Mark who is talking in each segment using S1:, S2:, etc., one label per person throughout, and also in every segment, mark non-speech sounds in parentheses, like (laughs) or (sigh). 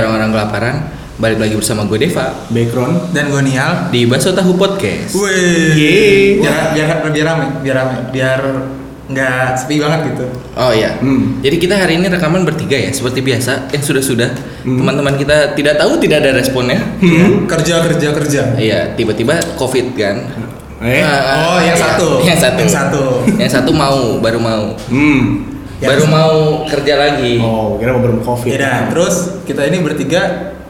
S1: kelaparan, balik lagi bersama gue Deva
S2: background
S3: dan gue Nial.
S1: di Baso Tahu Podcast.
S3: Wih,
S1: Yeay.
S3: biar, biar biar rame, biar rame, biar nggak sepi banget gitu.
S1: Oh iya.
S2: Hmm.
S1: Jadi kita hari ini rekaman bertiga ya, seperti biasa. Eh sudah-sudah
S3: Hmm.
S1: teman-teman kita tidak tahu tidak ada responnya.
S2: Hmm.
S3: Ya, Kerja kerja kerja.
S1: Iya, tiba-tiba Covid kan. Ah,
S2: eh
S1: ah,
S3: Oh,
S1: iya.
S3: yang satu.
S1: (laughs) Yang satu.
S3: Yang satu.
S1: Yang satu mau, baru mau.
S2: hmm
S3: Yang
S1: baru
S3: satu.
S1: mau kerja lagi.
S2: oh kira mau berem covid
S3: Ya, dah. terus kita ini bertiga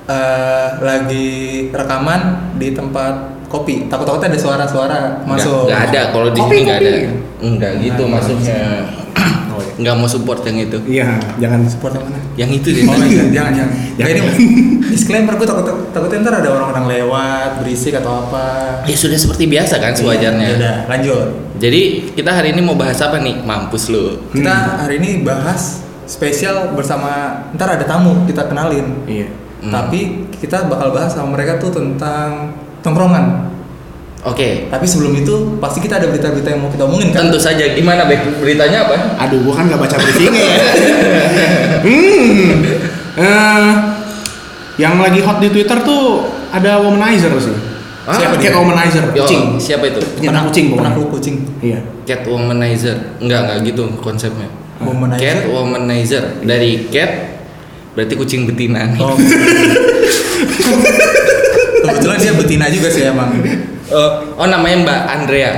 S3: eh, lagi rekaman di tempat kopi. Takut-takutnya ada suara-suara masuk. Nah,
S1: Nggak ada kalau di
S3: Kopi,
S1: sini nggak ada.
S3: kopi.
S1: Enggak gitu
S3: Nggak,
S1: maksudnya.
S2: Oh, iya.
S1: (clears throat) Nggak mau support yang itu.
S2: iya jangan
S3: Support yang mana?
S1: Yang itu deh.
S3: Oh,
S1: tadi.
S3: iya, jangan jangan.
S2: Jangan.
S3: Kayak ini (laughs) disclaimer gue takut takutnya ntar ada orang-orang lewat berisik atau apa.
S1: Ya sudah seperti biasa kan sewajarnya.
S3: Ya udah, lanjut.
S1: Jadi kita hari ini mau bahas apa nih? Mampus lu.
S3: Kita hari ini bahas spesial bersama ntar ada tamu kita kenalin.
S2: iya
S1: Hmm.
S3: Tapi kita bakal bahas sama mereka tuh tentang tongkrongan.
S1: Oke.
S3: Tapi sebelum itu pasti kita ada berita-berita yang mau kita omongin kan?
S1: Tentu saja gimana baik beritanya apa?
S2: aduh gua kan nggak baca briefingnya ya (laughs) hmm Eh, yang lagi hot di twitter tuh ada womanizer sih
S1: Ah,
S2: siapa
S1: dia?
S2: cat womanizer
S1: Yo,
S2: kucing
S1: Siapa itu?
S2: pencinta kucing
S3: Pernah
S2: pokoknya
S3: lu kucing.
S2: iya
S1: Cat womanizer. Enggak, enggak gitu konsepnya. Cat
S3: Womanizer.
S1: womanizer dari cat berarti kucing betina nih.
S3: Oh. (laughs) Kebetulan dia betina juga sih emang.
S1: Eh, oh namanya Mbak Andrea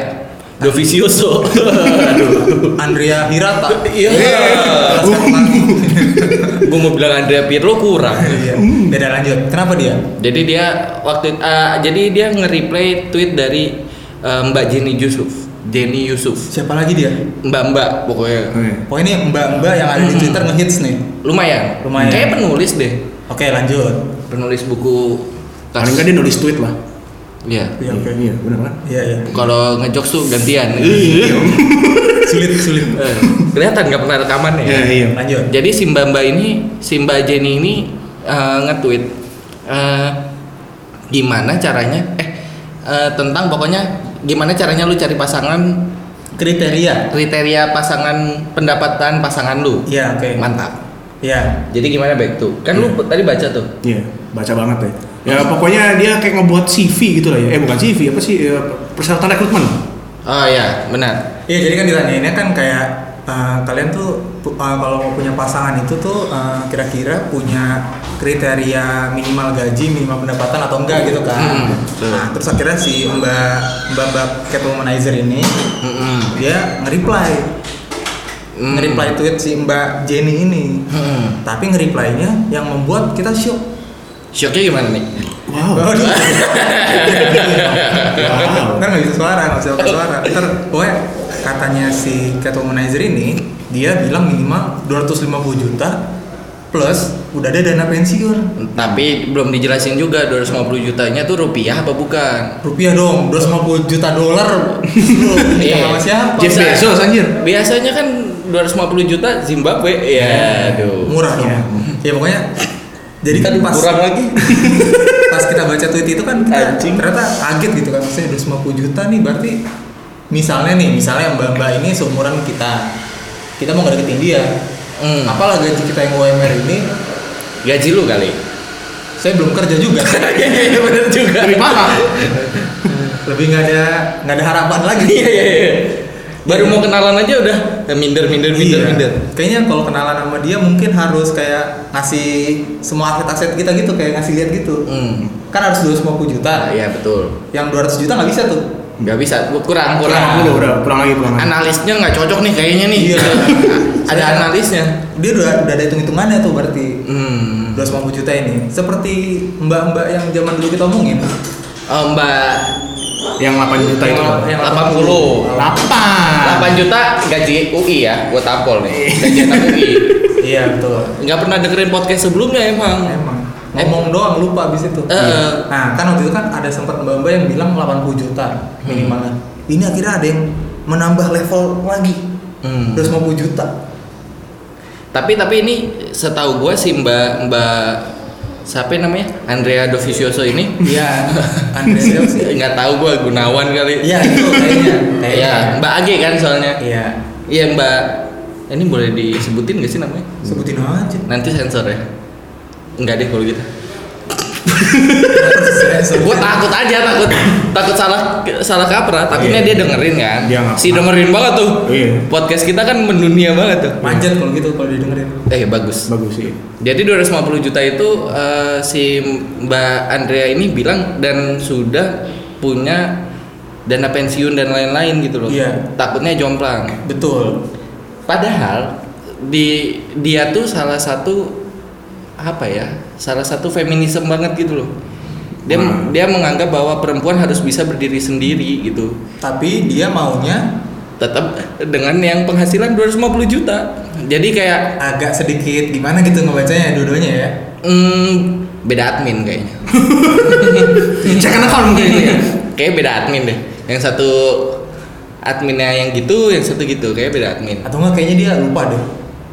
S1: Dovizioso. Aduh.
S3: Andrea Hirata.
S1: Iya. Uh.
S3: Kelas
S1: (laughs)
S3: Karman.
S1: Gue mau bilang Andrea Pirlo kurang.
S3: Iya. Beda lanjut. Kenapa dia?
S1: Jadi dia waktu eh, jadi dia nge-replay tweet dari eh, Mbak Jenny Yusuf. Jenny Yusuf.
S3: Siapa lagi dia?
S1: Mbak-mbak pokoknya.
S2: Oke.
S3: Oh ini mbak-mbak yang
S1: Hmm.
S3: ada di Twitter ngehits nih.
S1: Lumayan.
S3: Lumayan.
S1: Kayak penulis deh.
S3: Oke lanjut.
S1: Penulis buku
S2: paling nggak dia nulis tweet lah
S1: Iya.
S3: Iya, oke.
S2: iya benar kan
S3: Iya, iya.
S1: Kalau ngejokes tuh gantian.
S2: Iya.
S3: Sulit, sulit.
S1: Eh, Kelihatan nggak pernah rekaman ya.
S2: iya iya
S3: Lanjut.
S1: Jadi si Mbak Mbak ini, si Mbak Jenny ini eh, nge-tweet eh, gimana caranya eh eh, tentang pokoknya gimana caranya lu cari pasangan
S3: Kriteria.
S1: kriteria pasangan pendapatan pasangan lu.
S3: Iya, oke.
S1: Mantap.
S3: Iya.
S1: Jadi gimana baik tuh? Kan lu tadi baca tuh.
S2: Iya, baca banget ya. Ya pokoknya dia kayak ngebuat CV gitu lah ya. Eh bukan CV, apa sih? Ya, persyaratan rekrutmen.
S1: Oh iya, benar.
S3: Iya, jadi kan ditanyainnya kan kayak eh, kalian tuh pu- eh, kalau mau punya pasangan itu tuh eh, kira-kira punya kriteria minimal gaji, minimal pendapatan atau enggak gitu kan.
S1: Hmm, betul.
S3: Nah, terus akhirnya si Mbak Mbak Mbak Catwomanizer ini
S1: Mm-mm.
S3: dia nge-reply.
S1: Mm.
S3: Nge-reply tweet si Mbak Jenny ini.
S1: Mm.
S3: Tapi nge-reply-nya yang membuat kita shock.
S1: Shocknya gimana nih?
S2: Wow.
S3: Waduh. (laughs)
S2: wow.
S3: Ntar nggak bisa suara, nggak bisa pakai suara. Ntar pokoknya katanya si Cat Womanizer ini dia bilang minimal 250 juta plus udah ada dana pensiun.
S1: Tapi belum dijelasin juga 250 jutanya tuh rupiah apa bukan?
S3: Rupiah dong, 250 juta dolar. Loh,
S1: Iya.
S3: Sama siapa?
S2: Jeff
S1: Bisa.
S2: Bezos anjir.
S1: Biasanya kan 250 juta Zimbabwe. Ya, aduh.
S3: Murah dong.
S2: Iya.
S3: Ya pokoknya jadi kan pas
S1: kurang lagi.
S3: (laughs) pas kita baca tweet itu kan kita
S1: Anjing.
S3: ternyata kaget gitu kan maksudnya 250 juta nih berarti misalnya nih misalnya mbak mbak ini seumuran kita kita mau ngedeketin dia
S1: Hmm.
S3: apalah gaji kita yang UMR ini
S1: Gaji lu kali.
S3: saya belum kerja juga
S1: (laughs) Iya benar juga.
S2: Lebih parah.
S3: lebih nggak ada nggak ada harapan lagi
S1: (laughs) Iya iya iya. Baru mau kenalan aja udah eh, minder minder minder
S3: Iya.
S1: minder.
S3: kayaknya kalau kenalan sama dia mungkin harus kayak ngasih semua aset-aset kita gitu kayak ngasih lihat gitu
S1: Hmm.
S3: kan harus 250
S1: Ah,
S3: juta
S1: iya betul.
S3: yang 200 juta nggak bisa tuh
S1: Gak bisa kurang Ah,
S2: Kurang
S1: kurang.
S2: dulu, udah kurang lagi kurang lagi.
S1: Analisnya nggak cocok nih kayaknya nih.
S3: Iya.
S1: (laughs) Ada analisnya.
S3: dia udah udah ada hitung-hitungannya tuh berarti
S1: Hmm.
S3: 250 juta ini seperti mbak-mbak yang zaman dulu kita omongin
S1: Oh, Mbak
S2: Yang 8 juta itu.
S3: Yang- yang
S1: 80. 8
S2: 8.
S1: juta gaji UI ya, gue tampol nih. Gaji anak UI.
S3: iya betul
S1: Nggak pernah dengerin podcast sebelumnya
S2: Iya.
S1: emang.
S3: emang ngomong doang lupa abis itu
S1: Iya. Eh, eh.
S3: nah kan waktu itu kan ada sempat mbak-mbak yang bilang 80 juta minimalnya ini akhirnya ada yang menambah level lagi
S1: Hmm.
S3: 250 juta
S1: Tapi tapi ini setahu gue sih Mbak Mbak siapa namanya Andrea Dovizioso ini
S3: (laughs) iya Andreas sih
S1: nggak tahu gue Gunawan kali.
S3: iya itu kayaknya kayaknya
S1: Iya, Mbak Age kan soalnya.
S3: iya
S1: Iya Mbak. Ini boleh disebutin gak sih namanya?
S3: sebutin aja
S1: Nanti sensor ya. Enggak deh kalau gitu. gue takut aja takut takut salah salah kaprah takutnya
S2: Iya.
S1: dia dengerin kan
S2: Dia nggak
S1: si
S2: pernah.
S1: dengerin banget tuh
S2: Iya.
S1: podcast kita kan mendunia banget tuh
S3: Manjat kalau gitu kalau didengerin.
S1: eh bagus
S2: bagus sih
S1: jadi 250 juta itu eh, si Mbak Andrea ini bilang dan sudah punya dana pensiun dan lain-lain gitu loh
S3: Iya.
S1: takutnya jomplang
S3: Betul.
S1: padahal di dia tuh salah satu apa ya salah satu feminisme banget gitu loh dia
S2: Hmm.
S1: dia menganggap bahwa perempuan harus bisa berdiri sendiri gitu
S3: Tapi dia maunya
S1: tetap dengan yang penghasilan 250 juta jadi kayak
S3: agak sedikit gimana gitu ngebacanya dua-duanya ya.
S1: mm, beda admin
S3: (laughs)
S1: kayaknya
S2: check an account mungkin ya
S1: kayak beda admin deh yang satu adminnya yang gitu yang satu gitu kayak beda admin
S3: Atau enggak kayaknya dia lupa deh.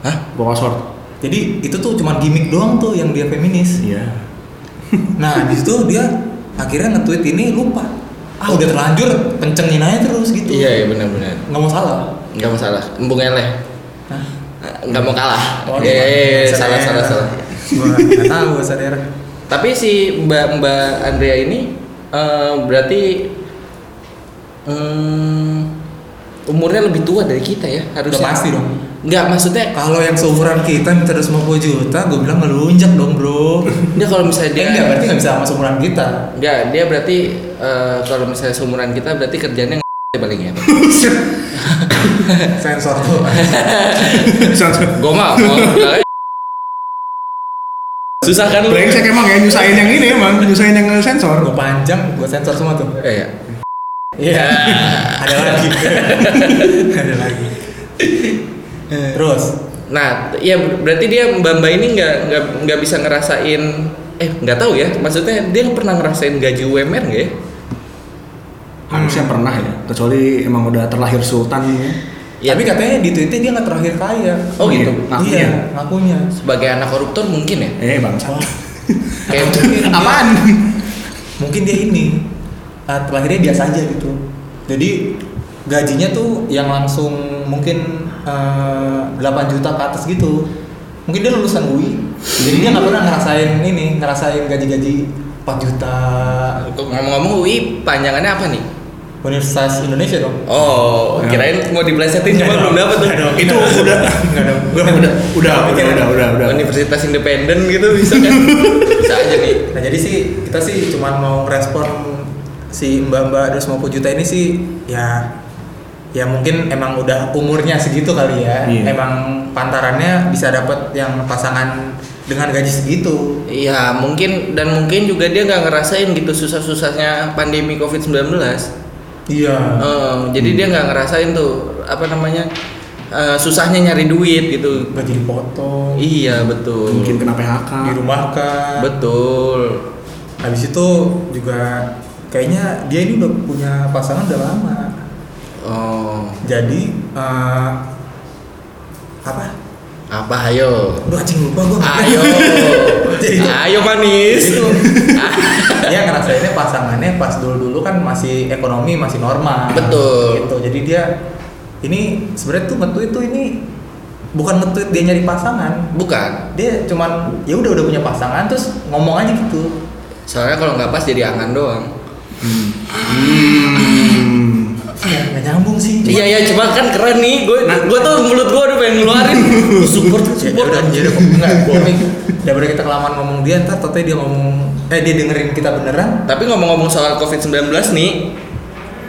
S1: hah
S2: bawa short
S3: Jadi itu tuh cuman gimmick doang tuh yang dia feminis.
S2: iya (laughs)
S3: Nah, di situ dia akhirnya nge-tweet ini lupa. Ah, udah terlanjur kencengin aja terus gitu.
S1: iya iya benar-benar
S3: Nggak mau salah.
S1: nggak masalah embung eleh
S3: Hah?
S1: ya. nggak mau kalah.
S3: Oh,
S1: Iya, iya, iya,
S3: gimana?
S1: salah, salah, salah.
S3: Gua nggak tahu bahasa daerah.
S1: Tapi si Mbak Mbak Andrea ini eh, berarti hmm, umurnya lebih tua dari kita ya harusnya.
S3: Udah pasti dong.
S1: Nggak maksudnya
S3: Kalau yang seumuran kita minta 250 juta, gue bilang ngelunjak dong bro.
S1: dia kalau misalnya
S3: Dia
S1: dia
S3: enggak berarti nggak bisa sama seumuran kita.
S1: Nggak, dia berarti eh, kalau misalnya seumuran kita berarti kerjanya nge- paling ya.
S3: Sensor tuh.
S2: Sangat-
S1: Gue mah mau nge- susah kan lu?
S2: brengsek emang ya nyusahin yang ini emang nyusahin yang sensor
S3: Gue panjang, gue sensor semua tuh.
S1: Eh, ya.
S3: Iya. Ada lagi. Ada lagi. Terus,
S1: Nah, ya berarti dia Mbak Mbak ini nggak nggak nggak bisa ngerasain eh nggak tahu ya maksudnya dia pernah ngerasain gaji UMR nggak ya?
S2: harusnya pernah ya kecuali emang udah terlahir sultan ya.
S1: Ya,
S3: tapi katanya di Twitter dia nggak terakhir kaya.
S1: Oh gitu.
S2: Ngakunya.
S3: Iya, ngakunya.
S1: sebagai anak koruptor mungkin ya.
S2: eh bangsa
S3: Wah,
S1: Kayak
S3: mungkin dia-
S2: apaan
S3: Mungkin dia ini ah, terakhirnya biasa aja gitu. Jadi gajinya tuh yang langsung mungkin eh, 8 juta ke atas gitu. Mungkin dia lulusan UI. Jadi dia nggak pernah ngerasain ini, ngerasain gaji-gaji 4 juta
S1: kok ngomong-ngomong UI panjangannya apa nih?
S3: Universitas Indonesia dong.
S1: Oh, kirain mau diplesetin cuma belum dapat tuh.
S2: itu udah
S3: Enggak dong.
S2: udah (laughs) udah udah udah udah udah udah
S1: Universitas independen gitu bisa kan? bisa aja nih.
S3: Nah jadi sih kita sih cuman mau respon si mbak-mbak 250 juta ini sih ya ya mungkin emang udah umurnya segitu kali ya
S2: Iya.
S3: emang pantarannya bisa dapat yang pasangan dengan gaji segitu
S1: Iya, mungkin dan mungkin juga dia nggak ngerasain gitu susah-susahnya pandemi COVID-19.
S3: iya
S1: Eh, jadi dia nggak ngerasain tuh apa namanya eh, susahnya nyari duit gitu.
S3: gaji dipotong
S1: Iya betul.
S2: mungkin kena PHK
S3: dirumahkan
S1: Betul.
S3: habis itu juga kayaknya dia ini udah punya pasangan udah lama
S1: Oh
S3: jadi eh, apa
S1: apa ayo?
S3: Aduh anjing lupa gue
S1: Ayo,
S3: (laughs) Jadi itu-
S1: ayo manis.
S3: itu dia Iya, ngerasainnya pasangannya pas dulu dulu kan masih ekonomi masih normal
S1: Betul.
S3: gitu jadi dia ini sebenarnya tuh nge-tweet tuh ini bukan nge-tweet dia nyari pasangan
S1: Bukan.
S3: dia cuman ya udah udah punya pasangan terus ngomong aja gitu
S1: Soalnya kalau nggak pas jadi angan doang.
S2: Hmm.
S3: ya nggak nyambung sih
S1: Iya
S3: (laughs)
S1: iya cuma kan keren nih. Gue
S2: Nah.
S1: gue tuh mulut gue udah pengen ngeluarin. support
S3: ya udah
S1: support.
S3: ya udah enggak tapi daripada kita kelamaan ngomong dia ntar tante dia ngomong eh dia dengerin kita beneran
S1: Tapi ngomong-ngomong soal COVID-19 nih,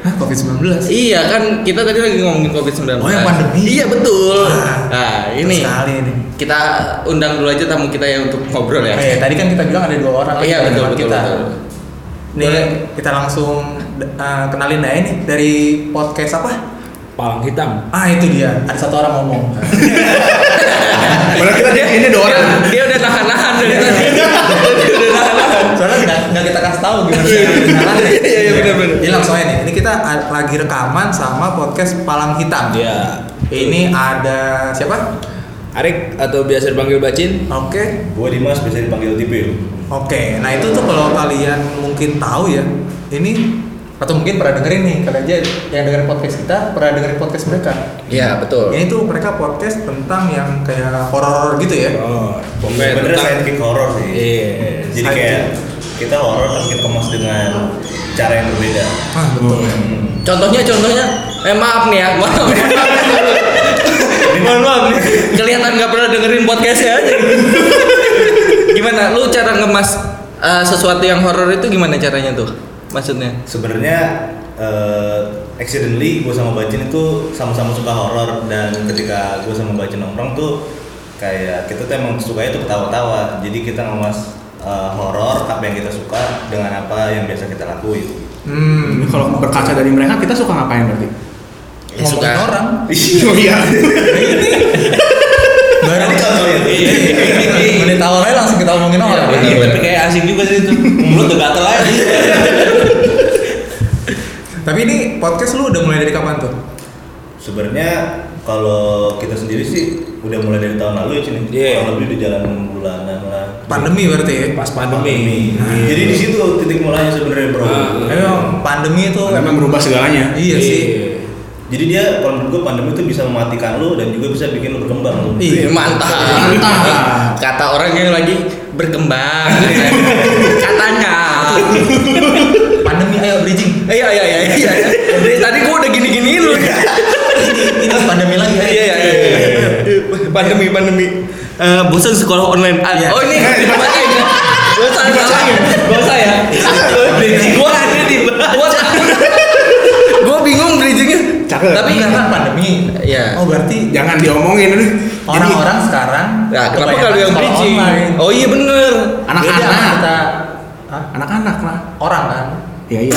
S3: Hah, covid 19
S1: iya kan kita tadi lagi ngomongin COVID-19.
S3: Oh, yang pandemi.
S1: Iya betul.
S3: Ah,
S1: Nah, ini.
S3: sekali ini
S1: kita undang dulu aja tamu kita ya untuk ngobrol ya.
S3: Eh, tadi kan kita bilang ada dua orang lagi
S1: Iya,
S3: di
S1: betul,
S3: depan
S1: betul,
S3: kita.
S1: betul.
S3: Nih
S1: Boleh.
S3: kita langsung eh, kenalin aja nih dari podcast apa?
S4: Palang hitam.
S3: Ah itu dia, ada satu orang ngomong.
S2: Padahal kita di- ini ada orang.
S3: Iya.
S1: Dia, dia udah nahan-nahan dari tadi. Dia udah nahan-nahan.
S3: Soalnya nggak nggak kita kasih tahu
S1: Iya,
S3: gimana cara kenalannya.
S1: iya, iya, benar-benar.
S3: Jadi langsung aja nih, ini kita a- lagi rekaman sama podcast Palang Hitam.
S4: Ya.
S3: Ini ada siapa?
S4: Arik atau biasa dipanggil Bacin.
S3: Oke,
S5: Gue Dimas biasa dipanggil Tipil.
S3: oke. Nah itu tuh kalau kalian mungkin tahu ya, ini atau mungkin pernah dengerin nih kalian aja yang dengerin podcast kita pernah dengerin podcast mereka
S1: Iya, betul.
S3: Ya itu mereka podcast tentang yang kayak horor gitu ya.
S4: Oh,
S5: Sebenarnya sidekick horor sih.
S4: Iya.
S5: Jadi
S3: Sidekick.
S5: kayak kita horor tapi kita kemas dengan cara yang berbeda
S1: Ah, betul.
S5: Hmm.
S1: Contohnya, contohnya, eh maaf nih ya,
S3: (laughs)
S1: maaf, Mohon maaf nih, kelihatan nggak pernah dengerin podcastnya aja. gimana, lu cara ngemas eh, sesuatu yang horor itu gimana caranya tuh? Maksudnya?
S5: sebenarnya eh, accidentally gue sama Bacin itu sama-sama suka horor dan ketika gue sama Bacin nongkrong tuh kayak kita tuh emang sukanya tuh ketawa-tawa jadi kita ngemas eh, horor apa yang kita suka dengan apa yang biasa kita lakuin
S2: Hmm, kalau berkaca dari mereka kita suka ngapain berarti?
S1: Ya, suka.
S3: Ngomongin orang
S1: (laughs)
S2: Oh iya.
S3: baru
S5: Ini contoh ya.
S3: Iya, menit awalnya langsung kita omongin orang
S1: Iya, bener.
S4: Tapi kayak asing juga sih itu. Mulut udah gatel aja.
S3: tapi ini podcast lu udah mulai dari kapan tuh
S5: sebenarnya kalau kita sendiri sih udah mulai dari tahun lalu ya Cin
S4: Iya.
S5: kurang lebih di jalan enam bulanan lah
S3: pandemi berarti ya
S4: Pas pandemi.
S1: Iya. Nah.
S5: jadi di situ titik mulanya sebenarnya bro
S3: nah.
S4: Ah.
S3: Emang pandemi itu
S2: Memang berubah segalanya.
S3: iya sih
S5: jadi dia kalau menurut gue pandemi itu bisa mematikan lo dan juga bisa bikin lo berkembang
S1: Ih, Iya. mantap.
S2: Mantap.
S1: Kata orang yang lagi berkembang. Katanya.
S3: pandemi ayo
S1: (laughs)
S3: bridging
S1: Iya, iya, iya, iya. Dari tadi gua udah gini-gini lu.
S3: ini pandemi lagi ya. ayo.
S1: Iya, iya, iya. Pandemi, pandemi. Eh, bosan sekolah online. Ah,
S3: Iya.
S1: Oh, ini dibacain. Gua salah salah. Gua saya. Bridging gua ada di gua Gua bingung bridgingnya.
S2: Cakep.
S1: Tapi
S3: tapi karena pandemi
S1: Iya.
S3: oh berarti
S2: Jangan diomongin aduh.
S3: orang-orang sekarang
S1: Nah, kenapa
S3: kebanyakan
S1: kalau yang
S3: sekolah
S1: bridging?
S3: online.
S1: Oh iya bener.
S3: Beda
S2: Anak-anak.
S3: sama kita Hah?
S2: Jadi anak-anak lah.
S3: orang kan
S2: Iya iya.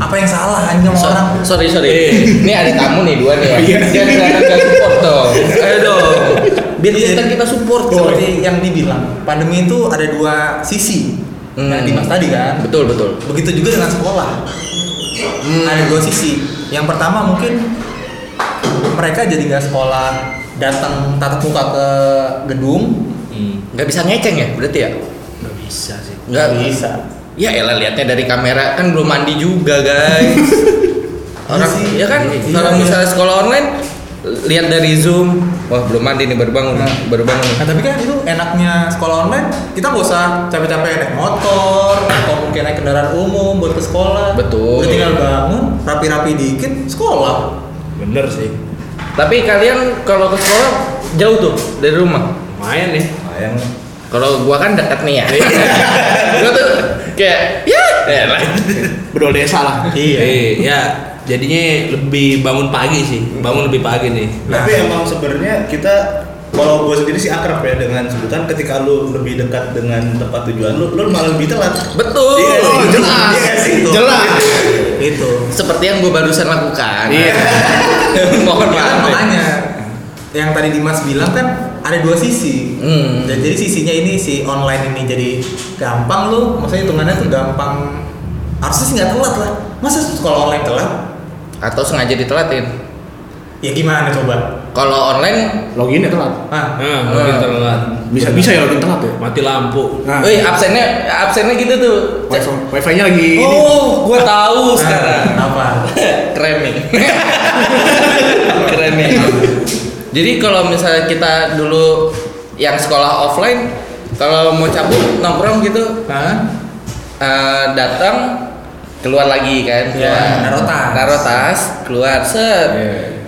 S3: apa yang salah hanya sama
S1: So-
S3: orang
S1: sorry sorry.
S3: Eh.
S1: Ini ada tamu nih dua nih.
S2: Iya.
S1: Ya. Jangan kelihatan gak support dong. Ayo dong. Biar
S3: Iya.
S1: kita kita support.
S3: seperti gitu
S1: Iya.
S3: yang dibilang pandemi itu ada dua sisi
S1: Hmm.
S3: nah, Dimas tadi kan
S1: Betul betul.
S3: begitu juga dengan sekolah
S1: Hmm.
S3: ada dua sisi yang pertama mungkin mereka jadi nggak sekolah datang tatap muka ke gedung
S1: Gak bisa ngeceng ya berarti ya?
S4: Gak bisa sih.
S1: Gak
S3: bisa
S1: Ya elah liatnya dari kamera kan belum mandi juga guys. Orang
S3: (laughs) Iya sih.
S1: ya kan
S3: Iya,
S1: kalau
S3: iya.
S1: misalnya sekolah online lihat dari zoom, wah belum mandi nih baru bangun, baru bangun.
S3: nah tapi kan itu enaknya sekolah online kita nggak usah capek-capek naik motor atau mungkin naik kendaraan umum buat ke sekolah
S1: Betul.
S3: Udah tinggal bangun rapi-rapi dikit sekolah
S4: Bener sih.
S1: Tapi kalian kalau ke sekolah jauh tuh dari rumah.
S4: Lumayan nih.
S5: Lumayan.
S1: Kalau gua kan dekat nih ya. gua tuh kayak ya elah.
S2: Bedol desa lah.
S4: Eh, ya jadinya lebih bangun pagi sih. Bangun lebih pagi nih.
S5: tapi emang sebenarnya kita kalau gue sendiri sih akrab ya dengan sebutan ketika lo lebih dekat dengan tempat tujuan lo lo malah lebih telat
S1: Betul.
S5: Iya sih.
S2: Oh, jelas.
S5: Iya sih, itu.
S2: jelas.
S3: itu
S1: Seperti yang gua barusan lakukan.
S2: Iya.
S1: (laughs) Mohon
S3: Ya,
S1: maaf.
S3: makanya yang tadi Dimas bilang kan ada dua sisi.
S1: Hmm.
S3: Dan jadi sisinya ini si online ini jadi gampang lu, maksudnya hitungannya tuh gampang. Harusnya sih nggak telat lah. Masa sekolah online telat?
S1: Atau sengaja ditelatin.
S3: Ya gimana coba?
S1: Kalau online, eh,
S2: Loginnya ya, telat.
S3: Ah,
S4: Nah, mungkin telat.
S2: Bisa bisa ya login telat ya.
S4: Mati lampu. Eh,
S2: Nah,
S1: woi absennya absennya gitu tuh.
S2: wifi, wifi-nya lagi ini.
S1: Oh, gua tahu sekarang.
S3: Apa?
S1: Keren
S3: (laughs)
S1: nih. Keren nih. Jadi kalau misalnya kita dulu yang sekolah offline, kalau mau cabut nongkrong gitu
S3: Hah?
S1: Eh, datang keluar lagi kan
S3: Iya,
S1: keluar
S3: naro tas. Iya.
S1: Naro tas, keluar set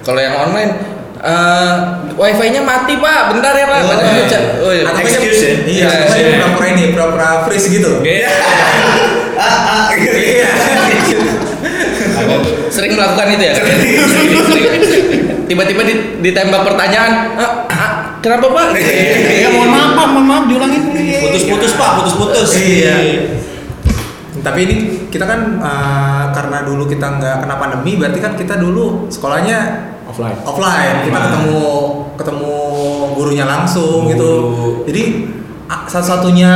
S1: kalau yang online eh wifi-nya mati pak bentar ya pak
S3: Oh,
S1: Padahal
S3: iya.
S1: ucap- oh, iya.
S3: Atau kayak-
S5: Excuse ya?
S3: Iya,
S1: Iya,
S3: atau kayak
S4: iya.
S3: pura-pura ini, pura-pura freeze gitu. (laughs) Iya.
S4: Iya.
S5: ah ah gitu.
S1: (laughs) Iya. sering melakukan itu ya Sering, sering. tiba-tiba di- ditembak pertanyaan "Ah, ah, kenapa pak
S4: iya,
S3: Iya.
S2: Ya mohon maaf, Pak, mohon maaf diulangin.
S4: Putus-putus pak, putus-putus.
S3: Iya. Tapi ini kita kan eh, karena dulu kita nggak kena pandemi, berarti kan kita dulu sekolahnya
S2: Offline.
S3: offline kita
S4: Nah.
S3: ketemu ketemu gurunya langsung
S4: Guru.
S3: gitu jadi a- satu-satunya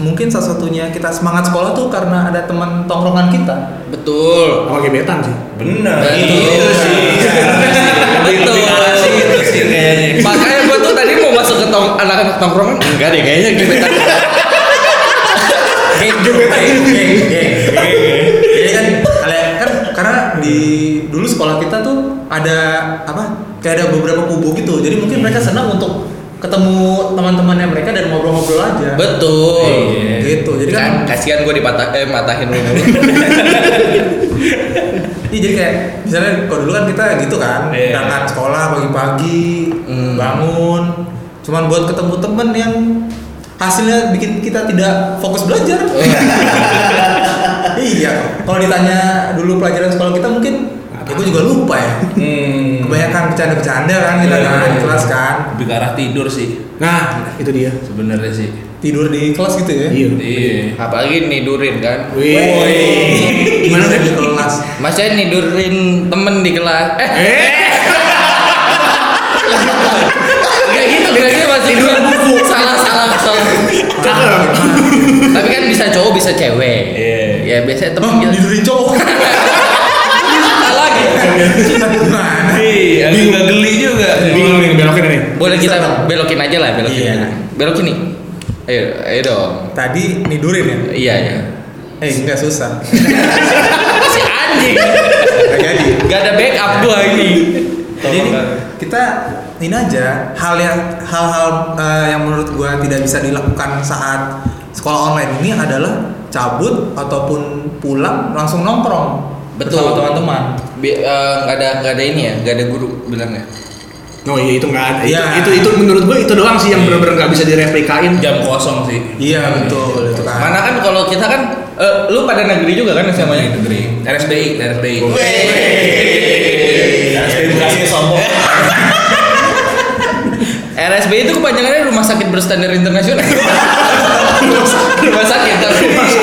S3: mungkin satu-satunya kita semangat sekolah tuh karena ada teman tongkrongan kita
S1: betul
S2: Sama gebetan sih.
S5: bener
S1: Betul.
S5: Gitu sih
S1: betul
S4: Lebih ke arah sih gitu sih kayaknya.
S1: makanya gua tuh tadi mau masuk ke tong anak-anak tongkrongan enggak deh kayaknya gebetan
S3: jadi kan kalian kan karena di dulu sekolah kita tuh ada apa kayak ada beberapa kubu gitu jadi mungkin mereka senang untuk ketemu teman-temannya mereka dan ngobrol-ngobrol aja
S1: Betul.
S4: Iya.
S3: gitu jadi kan
S1: Kan kasihan gue dipatah eh matahin lu mulu.
S3: Iya jadi kayak misalnya kalau dulu kan kita gitu kan
S4: Iya.
S3: berangkat sekolah pagi-pagi
S1: Hmm.
S3: bangun cuman buat ketemu temen yang hasilnya bikin kita tidak fokus belajar. (laughs) iya. Kalau ditanya dulu pelajaran sekolah kita mungkin ya gue juga lupa ya.
S4: Hmm.
S3: Kebanyakan bercanda-bercanda kan kita
S4: Iya,
S3: kan
S4: iya,
S3: di
S4: iya.
S3: kelas kan
S4: Lebih ke arah tidur sih
S2: Nah, itu dia.
S4: sebenarnya sih.
S3: tidur di kelas gitu ya.
S2: Iya.
S4: Iya.
S1: Apalagi nidurin kan.
S2: Wih. (laughs)
S3: Gimana di kelas?
S1: Masnya nidurin temen di kelas. Eh,
S2: Eh,
S1: Gak gitu, gak gitu masih dua buku. Salah, salah, salah. Tapi kan bisa cowok, bisa cewek.
S4: Iya.
S1: Ya biasanya temen
S3: Hah,
S1: kita
S3: tidur di cowok.
S1: salah lagi.
S3: Gimana?
S4: Iya, aku nggak geli juga.
S2: bingung nih belokin ini.
S1: Boleh
S3: Bisa
S1: kita
S3: dong.
S1: belokin aja lah, belokin.
S3: Iya.
S1: Belokin nih. Ayo, ayo dong.
S3: Tadi nidurin ya?
S1: Iya, iya.
S3: Eh enggak
S2: (laughs)
S3: susah.
S1: Si anjing.
S3: Enggak jadi.
S1: Gak ada backup gua ini.
S3: Jadi kita ini aja hal yang hal-hal eh, yang menurut gua tidak bisa dilakukan saat sekolah online ini adalah cabut ataupun pulang langsung nongkrong.
S1: Betul.
S3: bersama teman-teman.
S1: Bi- eh, Gak ada, gak ada ini ya, gak ada guru bilangnya.
S2: Oh iya itu nggak ada. Itu,
S3: Iya.
S2: itu itu menurut gua itu doang sih yang
S4: Iya.
S2: bener-bener nggak bisa direplikain.
S4: Jam kosong sih.
S3: Iya betul itu kan.
S1: Mana kan kalau kita kan, eh, lu pada negeri juga kan SMA-nya?
S4: Negeri. RSBI, RSBI.
S5: Kasih sombong.
S1: RSBI itu kepanjangannya Rumah Sakit Berstandar Internasional. (laughs) rumah sakit kan?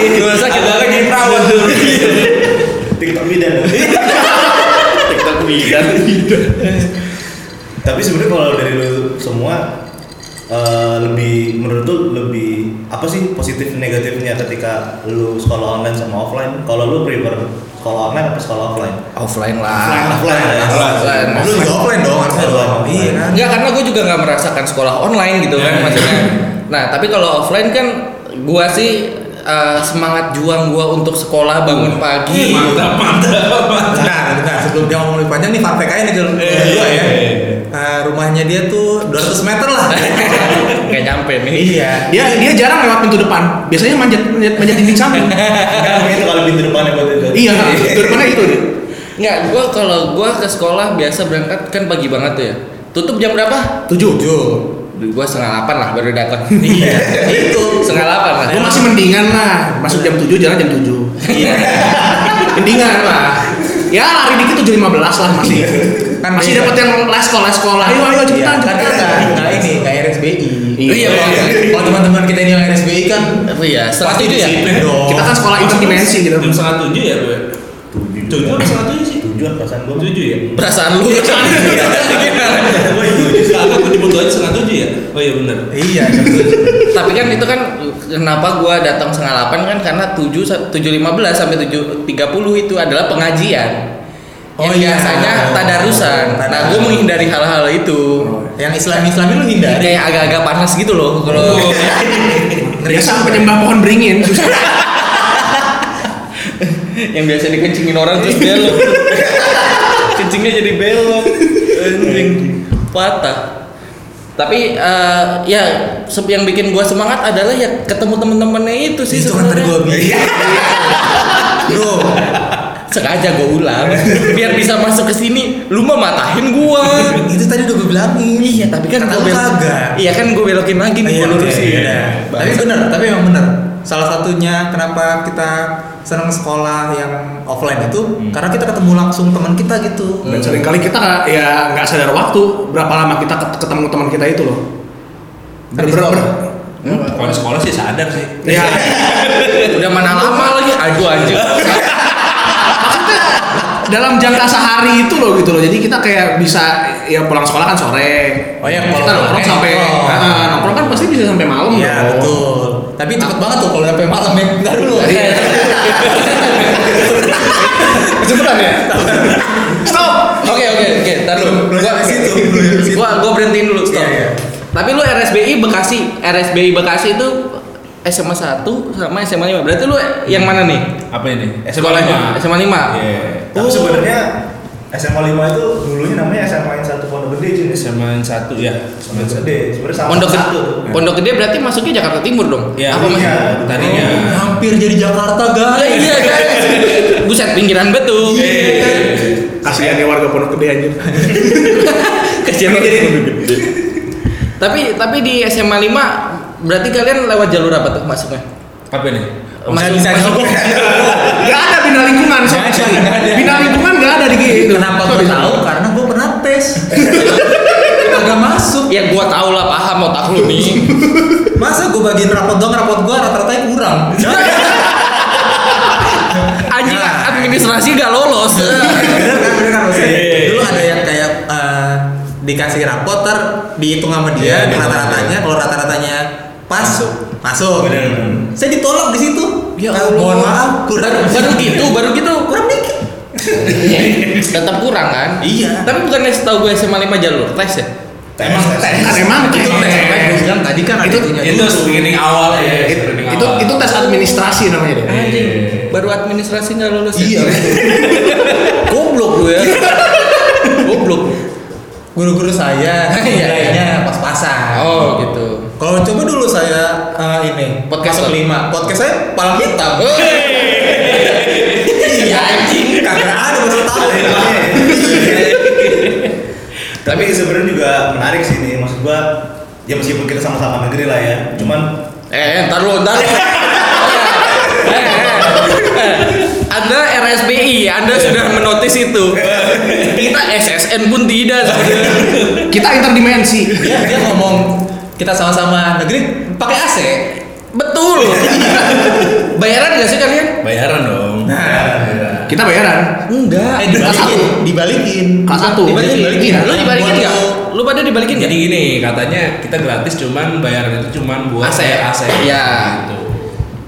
S1: Rumah sakit
S4: Agak
S1: kan?
S4: kayak perawat
S2: (laughs)
S4: tuh.
S5: TikTok
S4: (laughs)
S5: bidan. TikTok bidan. Tapi sebenarnya kalau dari lu semua eh, lebih menurut lu lebih apa sih positif negatifnya ketika lu sekolah online sama offline? Kalau lu prefer sekolah online apa sekolah offline?
S1: Offline
S5: Offline,
S1: lah.
S5: offline, ya.
S1: Offline.
S3: Ah, Lu juga offline dong harusnya dong.
S5: Offline.
S3: Iya kan.
S1: Enggak karena gue juga nggak merasakan sekolah online gitu
S4: Iya,
S1: kan maksudnya. Nah tapi kalau offline kan gua sih eh, semangat juang gua untuk sekolah bangun pagi.
S4: Iya, Mantap, mantap, mantap.
S3: Bentar, bentar. Sebelum dia ngomong lebih panjang nih fun fact aja nih dulu.
S4: Eh,
S3: Dua ya.
S4: eh.
S3: Eh, rumahnya dia tuh 200 meter
S2: (laughs)
S3: lah.
S1: Kayak nyampe nih.
S3: iya.
S2: Dia dia jarang lewat pintu depan. Biasanya manjat manjat, manjat dinding
S4: (laughs)
S2: samping.
S5: Kan mungkin itu kalau pintu depannya buat itu.
S2: iya, pintu depannya itu dia.
S1: Enggak gua kalau gua ke sekolah biasa berangkat kan pagi banget tuh ya. Tutup jam berapa?
S2: Tujuh.
S1: Gua setengah delapan lah baru datang. (laughs)
S3: Iya. Itu
S1: setengah delapan lah.
S2: Gua masih mendingan lah. Masuk jam 7 jalan jam 7.
S3: Iya.
S2: (laughs) Mendingan lah. Ya lari dikit 7.15 lah masih.
S3: Kan
S2: masih
S3: iya.
S2: dapat yang leskol leskol. Ayo ayo
S3: Iya,
S2: cepetan
S3: kan
S2: cepetan.
S3: kita nggak ini nggak RSBI.
S1: Iya,
S2: Iya.
S1: Bang.
S3: Kalau teman-teman kita ini yang RSBI kan
S1: Iya, setengah
S3: pasti
S1: tujuh ya.
S3: disiplin dong.
S2: Kita kan sekolah interdimensi gitu.
S4: Jam setengah tujuh ya, gue. Tujuh apa setengah tujuh sih?
S5: Tujuh perasaan gua.
S4: Tujuh ya?
S1: Perasaan lu (laughs)
S4: Gue iya, tujuh. Sekarang gue dipukul aja setengah tujuh ya? Oh iya benar.
S3: Iya,
S1: (laughs)
S3: jam tujuh.
S1: Tapi kan itu kan kenapa gua datang setengah delapan kan karena tujuh tujuh lima belas sampai tujuh tiga puluh itu adalah pengajian.
S3: Oh
S1: yang
S3: iya.
S1: biasanya tadarusan. Nah, gua menghindari Iya, hal-hal itu.
S3: yang Islam-Islami lu hindari.
S1: Kayak agak-agak panas gitu loh kalau
S2: Biasa penyembah pohon beringin susah.
S1: (laughs) yang biasa dikencingin orang terus belok. Iya. (laughs) Kencingnya jadi belok. Anjing. Patah. Tapi eh, ya se- yang bikin gua semangat adalah ya ketemu temen-temennya itu sih
S3: Itu kan tadi
S1: sebenarnya. Iya.
S3: gua
S5: Iya.
S3: bilang. Bro,
S1: sengaja gue ulang biar bisa masuk ke sini lu mah matahin gua
S3: itu tadi udah gue bilangin.
S1: iya tapi kan
S3: Kata
S1: gue
S3: lu kagak.
S1: iya kan gue belokin lagi nih
S3: Iya,
S1: gue lurusin
S3: iya, iya. Tapi bener, tapi emang bener. Salah satunya kenapa kita senang sekolah yang offline itu
S1: Hmm.
S3: karena kita ketemu langsung teman kita gitu.
S2: Dan seringkali kita nggak- ya nggak sadar waktu berapa lama kita ket- ketemu teman kita itu loh. Ber
S3: Tadi
S2: ber ber
S4: Kalau sekolah sih sadar sih.
S2: ya
S1: udah mana lama lagi aduh anjir
S2: dalam jangka sehari itu loh gitu loh. Jadi kita kayak bisa ya pulang sekolah kan sore.
S3: Oh iya,
S2: kita
S3: kalau
S2: nongkrong
S3: sore
S2: sampai
S3: nongkrong.
S2: Ah, nongkrong kan pasti bisa sampai malam Oh.
S3: Iya
S6: Oh.
S2: dong.
S3: betul. Tapi takut banget tuh kalau sampai malam ya. Bentar dulu.
S6: Iya,
S1: (laughs)
S2: Cepetan ya. Stop.
S1: oke oke oke tar lu
S3: Belum sampai situ, belum sampai situ.
S1: gua gua berhentiin dulu stop
S3: Iya, iya.
S1: tapi lu RSBI Bekasi RSBI Bekasi itu SMA 1 sama SMA 5 berarti lu yang mana nih
S4: Apa ini?
S1: SMA 5
S4: Iya. Oh.
S5: Tapi sebenarnya SMA 5 itu dulunya namanya SMA yang satu pondok Pondok Gede Jin.
S6: Semen satu ya.
S3: Gitu.
S6: Semen
S5: Pondok
S6: satu.
S5: Gede. Sebenarnya sama
S1: Pondok Gede,
S5: satu.
S1: Pondok Gede berarti masuknya Jakarta Timur dong?
S6: Ya,
S1: Apa mas?
S6: iya, tadinya.
S3: Oh, hampir jadi Jakarta
S1: Ah,
S3: guys
S1: iya guys. Buset pinggiran betul.
S3: Iya,
S6: Iya,
S2: Kasihan ya warga Pondok Gede anjir.
S1: Kasihan banget. tapi tapi di SMA 5 berarti kalian lewat jalur apa tuh masuknya?
S6: Apa nih?
S1: Masuk-
S6: Bisa- bisa-
S1: masuk-
S2: Gak ada bina lingkungan. Sob.
S3: Nggak ada, nggak ada.
S2: Bina lingkungan gak ada di gitu.
S3: kenapa gue tahu karena gue pernah
S6: (laughs)
S3: tes agak masuk
S1: Ya gua tau lah paham otak lu nih.
S3: masa gue bagiin rapot doang rapot gue rata-ratanya kurang
S1: Anjing
S3: Nah.
S1: administrasi gak lolos.
S3: bener kan bener kan maksudnya dulu ada yang kayak eh, dikasih rapot ter dihitung sama dia
S6: Iya,
S3: rata-ratanya kalau rata-ratanya pas masuk masuk saya ditolak di situ
S1: Ya
S3: Kalau
S1: Allah.
S3: mohon maaf kurang
S1: baru, baru gitu, baru gitu.
S3: kurang dikit
S1: Tetap kurang kan?
S3: Iya.
S1: Tapi bukannya setahu gue SMA 5 jalur tes ya?
S6: Emang tes.
S2: Emang
S3: itu
S2: gitu.
S3: tes tes kan tadi kan ada
S2: Itu-
S3: itunya
S6: Itu
S3: dulu.
S6: screening awal ya. screening
S2: Itu
S6: awal.
S2: itu tes administrasi namanya deh.
S5: Iya.
S1: Anjing, Iya. baru administrasi gak lolos.
S3: Iya.
S1: (laughs) Goblok lu
S3: (laughs)
S1: ya. Goblok.
S3: guru-guru saya
S1: Iya.
S3: nilainya pas-pasan
S1: Oh gitu.
S3: kalau coba dulu saya eh, ini
S1: Podcast apa?
S3: masuk
S1: Oh.
S3: lima podcast saya palang hitam
S1: Eh, Iya anjing.
S3: kagak ada baru tahu Iya,
S5: Tapi sebenarnya juga menarik sih ini. Maksud gua ya meskipun kita sama-sama negeri lah ya, cuman
S1: Eh, ntar lu, ntar lu. Eh, eh. Anda RSBI, Anda sudah menotis itu. Kita SSN pun tidak sebenarnya.
S2: Kita interdimensi.
S3: dia, dia ngomong kita sama-sama negeri pakai AC
S1: Betul. Bayaran gak sih kalian?
S6: bayaran dong. Bayaran.
S2: Kita bayaran.
S1: Enggak.
S3: Nah. eh
S2: Kelas satu.
S3: dibalikin dibalikin
S2: Kelas satu.
S3: dibalikin, dibalikin.
S1: Iya, Lu dibalikin
S3: Buat
S1: nggak? Lu pada dibalikin nggak?
S6: Jadi gini katanya kita gratis cuman bayaran itu cuman buat
S1: AC.
S6: AC.
S1: Iya.
S6: Gitu.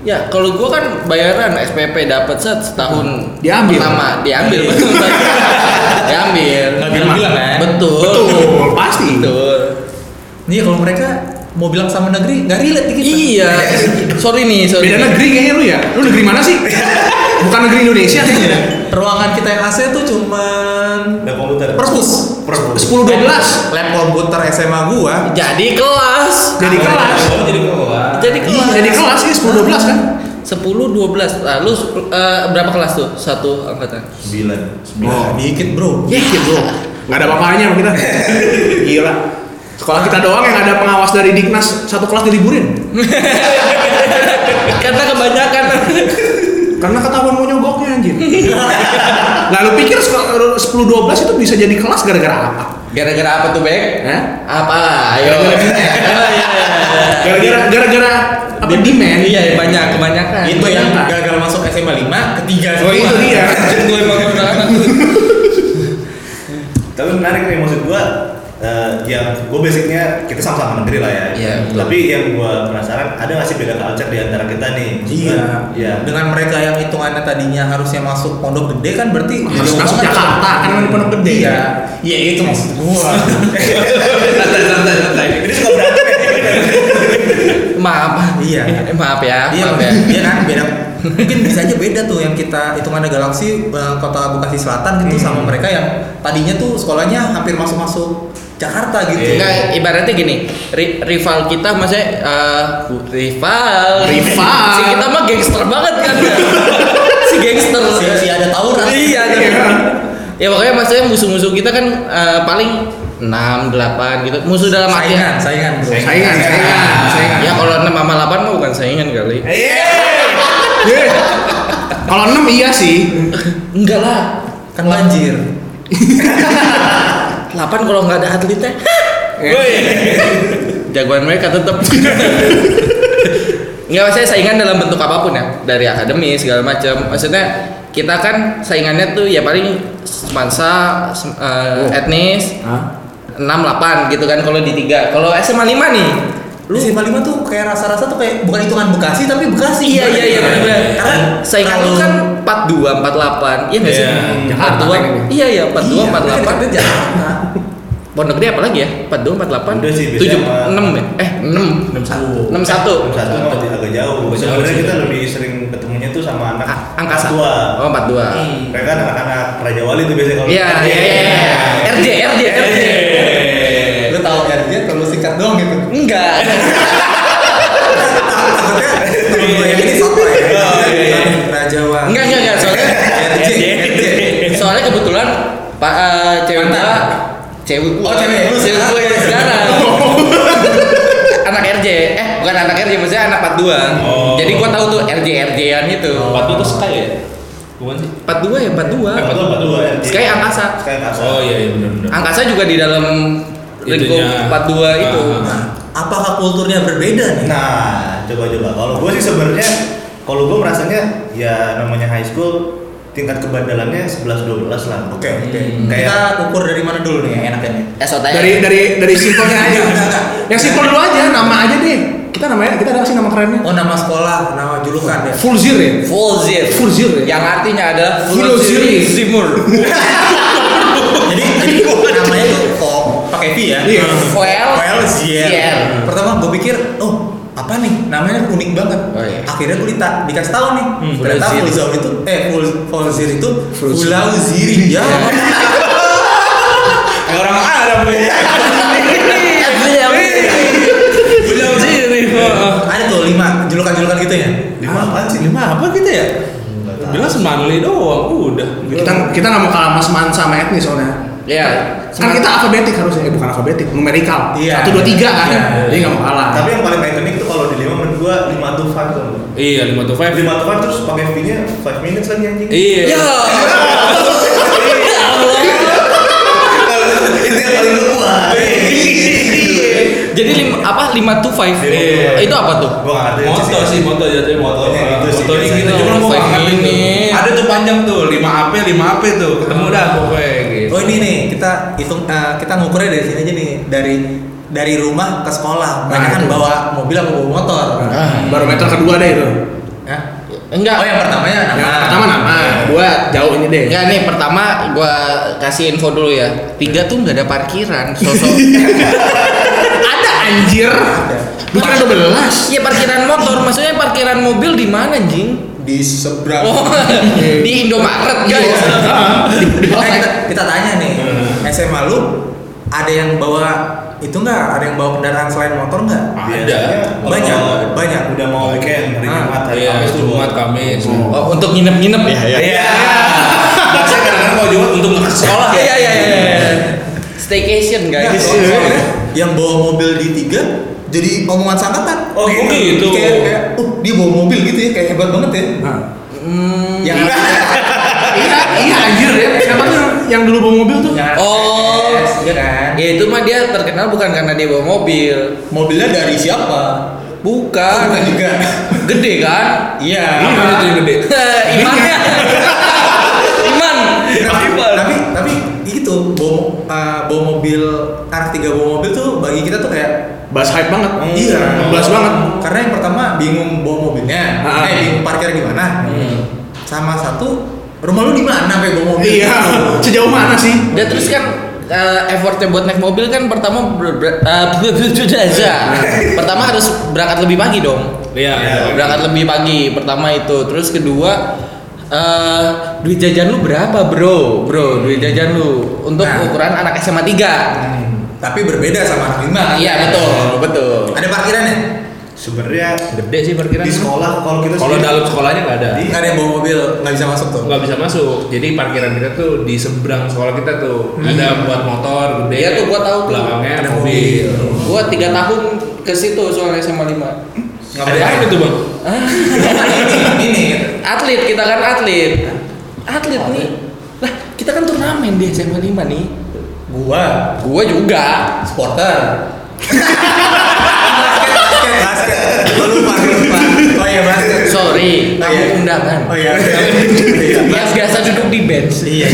S1: Ya, kalau gua kan bayaran SPP dapat set setahun
S2: Diambil. Iya.
S1: pertama diambil betul. diambil.
S3: Nggak bilang-bilang, kan?
S1: Betul.
S2: Betul, pasti.
S1: Betul.
S3: Iya kalau mereka mau bilang sama negeri nggak relate dikit.
S1: Iya. Sorry nih, sorry.
S2: Beda negeri kayaknya lu ya. Lu negeri mana
S3: (laughs)
S2: sih? Bukan negeri Indonesia.
S3: Iya. Ruangan kita yang AC tuh cuman
S5: ada komputer.
S3: perpus.
S5: Perpus.
S2: 10 12.
S3: Lab komputer SMA gua.
S1: Jadi kelas.
S2: Jadi kelas.
S6: Oh, jadi gua.
S1: Jadi
S2: Iya,
S1: kelas.
S2: jadi kelas sih 10 12 kan.
S1: 10 12. Nah, lu eh, berapa kelas tuh? Satu angkatan.
S5: Sembilan.
S3: Oh, dikit bro.
S2: Ya, bro. Enggak ada apa-apanya sama
S1: (laughs)
S2: kita. Gila. Sekolah kita doang yang ada pengawas dari Diknas satu kelas diliburin.
S1: Karena kebanyakan.
S2: Karena ketahuan mau nyogoknya
S1: (laughs)
S2: anjir. Lalu pikir sekol- 10 12 itu bisa jadi kelas gara-gara apa?
S1: Gara-gara apa tuh, Bek?
S2: Hah?
S1: Apa? Ayo. Oh, iya, iya, iya.
S2: Gara-gara gara-gara apa demand?
S1: Iya, iya, banyak kebanyakan.
S3: Itu yang
S2: Kebanyakan.
S3: gagal masuk SMA 5 ketiga
S2: Oh, itu dia.
S1: Gue iya. emang udah anak tuh.
S5: Tapi menarik nih maksud gua eh, ya gue basicnya kita sama-sama negeri lah ya.
S1: Iya, betul.
S5: Tapi yang gua penasaran ada nggak sih beda culture di antara kita nih? Maksud gua,
S3: Iya.
S5: Iya.
S3: Dengan mereka yang hitungannya tadinya harusnya masuk pondok gede kan berarti
S2: Harus
S3: jauh
S2: masuk
S3: banget.
S2: Jakarta kan namanya pondok gede.
S3: Iya. Iya itu maksud gua.
S1: (laughs)
S6: Santai santai santai.
S5: Ini suka berantem ya.
S1: Maaf.
S3: Iya.
S1: (laughs) Eh, Maaf ya.
S3: Iya,
S1: Maaf ya.
S3: iya, kan beda. Mungkin bisa aja beda tuh yang kita hitungannya galaksi eh, kota Bekasi Selatan
S1: Hmm.
S3: gitu sama mereka yang tadinya tuh sekolahnya hampir masuk-masuk Jakarta gitu.
S1: Enggak, ibaratnya gini, ri- rival kita maksudnya eh, bu- rival.
S2: Rival.
S1: Si kita mah gangster banget
S3: (laughs)
S1: kan. ya? si gangster.
S3: Si, si ada tawuran.
S1: Iya. ada. ya pokoknya maksudnya musuh-musuh kita kan eh, paling 6 8 gitu. Musuh dalam
S3: Saingan,
S1: artian
S3: saingan bro.
S2: Saingan, saingan, saingan.
S1: Ya kalau 6 sama 8 mah bukan saingan kali.
S2: Ye. Iya. Kalau 6 iya sih.
S1: Enggak lah.
S3: Kan banjir.
S1: 8 kalau nggak ada ya. atletnya.
S6: Woi.
S1: Jagoan mereka tetap. Enggak maksudnya saingan dalam bentuk apapun ya, dari akademi segala macam. Maksudnya kita kan saingannya tuh ya paling mansa eh, etnis 6 8 gitu kan kalau di 3. Kalau SMA 5 nih
S3: Lu
S2: Iya.
S3: SMA 5 tuh kayak rasa-rasa tuh kayak bukan hitungan Bekasi tapi Bekasi.
S1: Iya iya iya benar.
S3: Karena
S1: saingan
S3: kalau-
S1: lu kan 42 48. Iya enggak sih?
S6: Iya,
S2: Jakarta
S1: 42. Iya iya 42
S3: Iya, kan
S1: 48.
S3: kita Jakarta.
S1: Pondok Gede apa lagi ya? 42 48.
S5: Udah sih, biasanya
S1: 7
S5: sama-
S1: 6 ya? Eh 6.
S6: 61.
S1: 61.
S5: Satu mah masih agak jauh.
S6: Agak jauh
S5: Sebenarnya
S6: sih.
S5: kita lebih sering ketemunya tuh sama anak
S1: A- angkasa.
S5: tua.
S1: Oh, Iya, 42.
S5: Iya. Mereka kan anak-anak Raja Wali tuh biasanya kalau
S1: Iya, iya, iya. RJ, RJ, RJ.
S5: eh,
S3: ya,
S1: Iya,
S3: Takutnya temen gue yang ini soto ya. Rajawa.
S1: Oh, Enggak, enggak, enggak, soalnya-
S3: RJ, RJ.
S1: Soalnya kebetulan Pak eh, cewek gua cewek gua.
S3: Oh, cewek lu
S1: cewek gua yang sekarang. (laughs) anak RJ. Eh, bukan anak RJ, maksudnya anak 42.
S6: Oh.
S1: Jadi gua tahu tuh RJ-RJ-an itu.
S6: Empat tuh sky ya? Bukan sih?
S1: 42 ya, 42.
S6: Eh, 42.
S1: Sky Angkasa.
S5: ya. Sky angkasa.
S6: Oh iya iya benar-benar.
S1: Angkasa juga di dalam lingkup
S6: Itunya.
S1: 42 itu.
S6: Ah.
S3: Apakah kulturnya berbeda nih?
S5: Nah, coba-coba. Kalau gue sih sebenarnya, kalau gue merasanya ya namanya high school tingkat kebandalannya 11-12 lah.
S3: Oke, oke. Kita
S5: Hmm. Kayak
S3: ukur dari mana dulu nih yang enaknya nih?
S6: ah.
S1: SOTM.
S2: dari dari dari simpelnya aja yang simpel dulu aja nama aja deh kita namanya kita ada nggak sih nama kerennya
S3: Oh, nama sekolah, nama julukan ya.
S2: Fulzir ya
S1: Fulzir.
S2: Fulzir ya?
S1: Yang artinya adalah
S2: Fulzir.
S1: Zimur.
S3: jadi jadi namanya tuh kok pakai V ya
S2: Iya.
S1: Well,
S3: well
S1: Zier.
S3: yeah. pertama gue pikir oh apa nih namanya unik banget
S1: Oh, iya.
S3: akhirnya gue dita, dikasih tahu nih ternyata
S1: Fulzir.
S3: Fulzir itu eh Ful Fulzir itu Pulau Ziri ya
S6: Kayak orang Arab ya. Belum sih ini. heeh.
S3: Iya. ada tuh lima julukan-julukan gitu ya
S5: Lima apaan sih?
S3: lima apa gitu ya
S5: Nggak tahu.
S6: Jelas manli doang udah.
S2: kita kita nggak mau kalah mas man sama etnis soalnya
S1: Iya.
S2: kan kita alfabetik harusnya eh bukan alfabetik numerikal
S3: Iya.
S2: satu dua tiga kan
S3: Iya.
S2: jadi nggak mau kalah
S5: Tapi yang paling ikonik tuh kalau di lima menurut gue lima to five tuh.
S6: Iya 5 to 5.
S5: Lima to five terus pakai V-nya five minutes lagi anjing.
S6: Iya.
S1: Ya.
S5: (laughs) Itu yang paling
S6: (laughs)
S5: tua.
S1: Jadi lim, apa 5 to 5?
S5: Iya.
S1: Itu apa tuh?
S5: Gue nggak ngerti
S6: Moto sih, moto jatuhnya
S5: Motonya gitu sih,
S6: Motonya
S5: biasanya.
S6: gitu, cuma gue
S1: Five
S6: nggak ngerti tuh.
S1: minute.
S6: Ada tuh panjang tuh, 5 AP, 5 AP tuh. Ketemu dah pokoknya gitu.
S3: oh ini nih kita hitung eh, kita ngukurnya dari sini aja nih dari dari rumah ke sekolah mereka
S2: Nah,
S3: kan
S2: itu.
S3: bawa mobil apa bawa motor
S2: ah, barometer kedua deh itu
S3: Hah?
S1: Enggak.
S3: oh yang pertamanya nama
S2: yang pertama nama dua jauh ini deh
S1: Enggak nih, pertama gua kasih info dulu ya. Tiga tuh nggak ada parkiran. Sosok
S6: (laughs)
S2: ada anjir
S3: Ya.
S2: bukan dua belas
S1: Iya parkiran motor, maksudnya parkiran mobil di mana, anjing?
S3: di seberang
S1: Oh, di Indomaret, guys. Oh,
S2: di
S3: Eh,
S2: belakang
S3: kita, kita tanya nih, SMA lu ada yang bawa itu nggak? Ada yang bawa kendaraan selain motor nggak?
S6: Ada.
S3: Banyak, banyak.
S5: Udah mau weekend, hari
S3: Ah,
S5: Jumat, hari
S6: Iya,
S5: Kamis tuh.
S6: Jumat, Kamis.
S1: Oh, untuk nginep-nginep ya.
S6: Iya. Bahasa kadang-kadang kalau Jumat untuk nggak ke sekolah.
S1: Iya, iya, iya. Staycation,
S3: Nggak,
S1: guys.
S3: soalnya yang bawa mobil di tiga jadi omongan sangkatan.
S6: Oh, gitu.
S3: Kayak, kayak, uh, dia bawa mobil gitu ya, kayak hebat banget ya.
S1: Hmm.
S3: Yang
S2: iya iya anjir ya siapa tuh yang dulu bawa mobil tuh
S3: Ya.
S1: Oh.
S3: iya kan.
S1: Ya itu mah dia terkenal bukan karena dia bawa mobil.
S3: Mobilnya dari siapa?
S1: Bukan.
S3: Bukan juga.
S1: Gede kan?
S3: Iya.
S6: Apa itu yang
S1: (laughs)
S6: gede?
S1: Imannya. Iman.
S3: tapi,
S1: Iya.
S3: tapi tapi itu bawa eh, bawa mobil anak tiga bawa mobil tuh bagi kita tuh kayak
S2: bahas hype banget
S3: Iya,
S2: bahas Hmm. banget
S3: Karena yang pertama bingung bawa mobilnya,
S2: Ah.
S3: eh bingung parkir di mana. Sama satu, rumah lu di mana sampai bawa mobil?
S2: iya sejauh mana sih
S1: Dan terus kan eh, effortnya buat naik mobil kan pertama ber- ber- eh, (laughs) aja. Pertama harus berangkat lebih pagi dong.
S6: Iya.
S1: Berangkat lebih pagi pertama itu. Terus kedua eh duit jajan lu berapa, Bro? Bro, duit jajan lu untuk
S3: Nah.
S1: ukuran anak SMA 3.
S3: Tapi berbeda sama anak lima. kan?
S1: Iya, betul, betul.
S3: Ada parkiran ya?
S5: Sebenarnya
S6: Gede sih perkiraan.
S5: di sekolah kalau kita
S6: Kalau
S5: sendiri-
S6: dalam sekolahnya nggak ada.
S3: Nggak ada yang bawa mobil, nggak bisa masuk tuh.
S6: nggak bisa masuk jadi parkiran kita tuh di seberang sekolah kita tuh ada buat motor gede
S1: Iya tuh, gua tahu tuh.
S6: belakangnya
S3: Hmm. Ada
S6: mobil,
S1: Gua 3 tahun ke situ soalnya SMA 5.
S6: ada yang itu bang
S3: ini, ini.
S1: atlet kita kan atlet atlet nih lah kita kan turnamen di SMA 5 nih
S3: Gua,
S1: gua juga
S3: supporter. basket, basket, basket. Gua lupa, gua lupa. Oh iya basket.
S1: sorry
S3: Oh,
S1: tamu
S3: iya.
S1: undangan
S3: Oh iya. Iya.
S1: yang biasa duduk di bench
S3: Iya.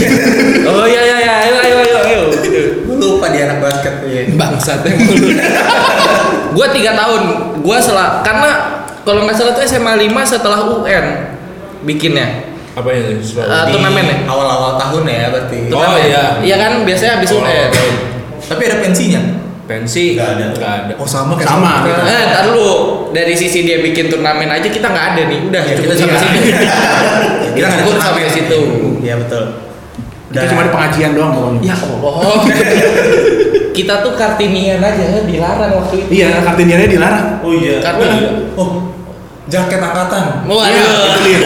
S1: oh iya iya iya ayo ayo ayo, ayo. Gitu.
S3: Gua lupa dia anak basket. Iya.
S1: bangsat emang (laughs) lu. gua tiga tahun gua salah karena kalau nggak salah tuh SMA 5 setelah UN bikinnya
S6: apa yang itu selalu
S1: Eh,
S3: Di
S1: turnamen ya?
S3: Awal-awal tahun ya berarti.
S6: Oh, iya.
S1: iya kan biasanya habis
S6: Oh,
S1: UN
S6: tahun.
S3: Tapi ada pensinya.
S6: pensi
S5: Nggak ada.
S6: nggak ada
S3: Oh sama kayak
S2: Sama.
S3: kita.
S1: Eh, ntar lu dari sisi dia bikin turnamen aja kita nggak ada nih. Udah,
S3: Ya,
S1: kita
S3: kita
S1: sampai
S3: iya.
S1: situ.
S3: Ya,
S1: kita
S3: nggak ada
S1: cukup sampai
S3: turnamen.
S1: situ.
S3: Iya betul.
S2: Kita cuma ada pengajian doang pokoknya.
S1: (laughs) Ya Allah. kita tuh kartinian aja dilarang waktu itu.
S2: Iya, kartiniannya dilarang.
S5: (laughs) Oh iya.
S1: Kartu.
S5: Oh, iya.
S3: oh jaket angkatan
S1: Waduh.
S2: Iya,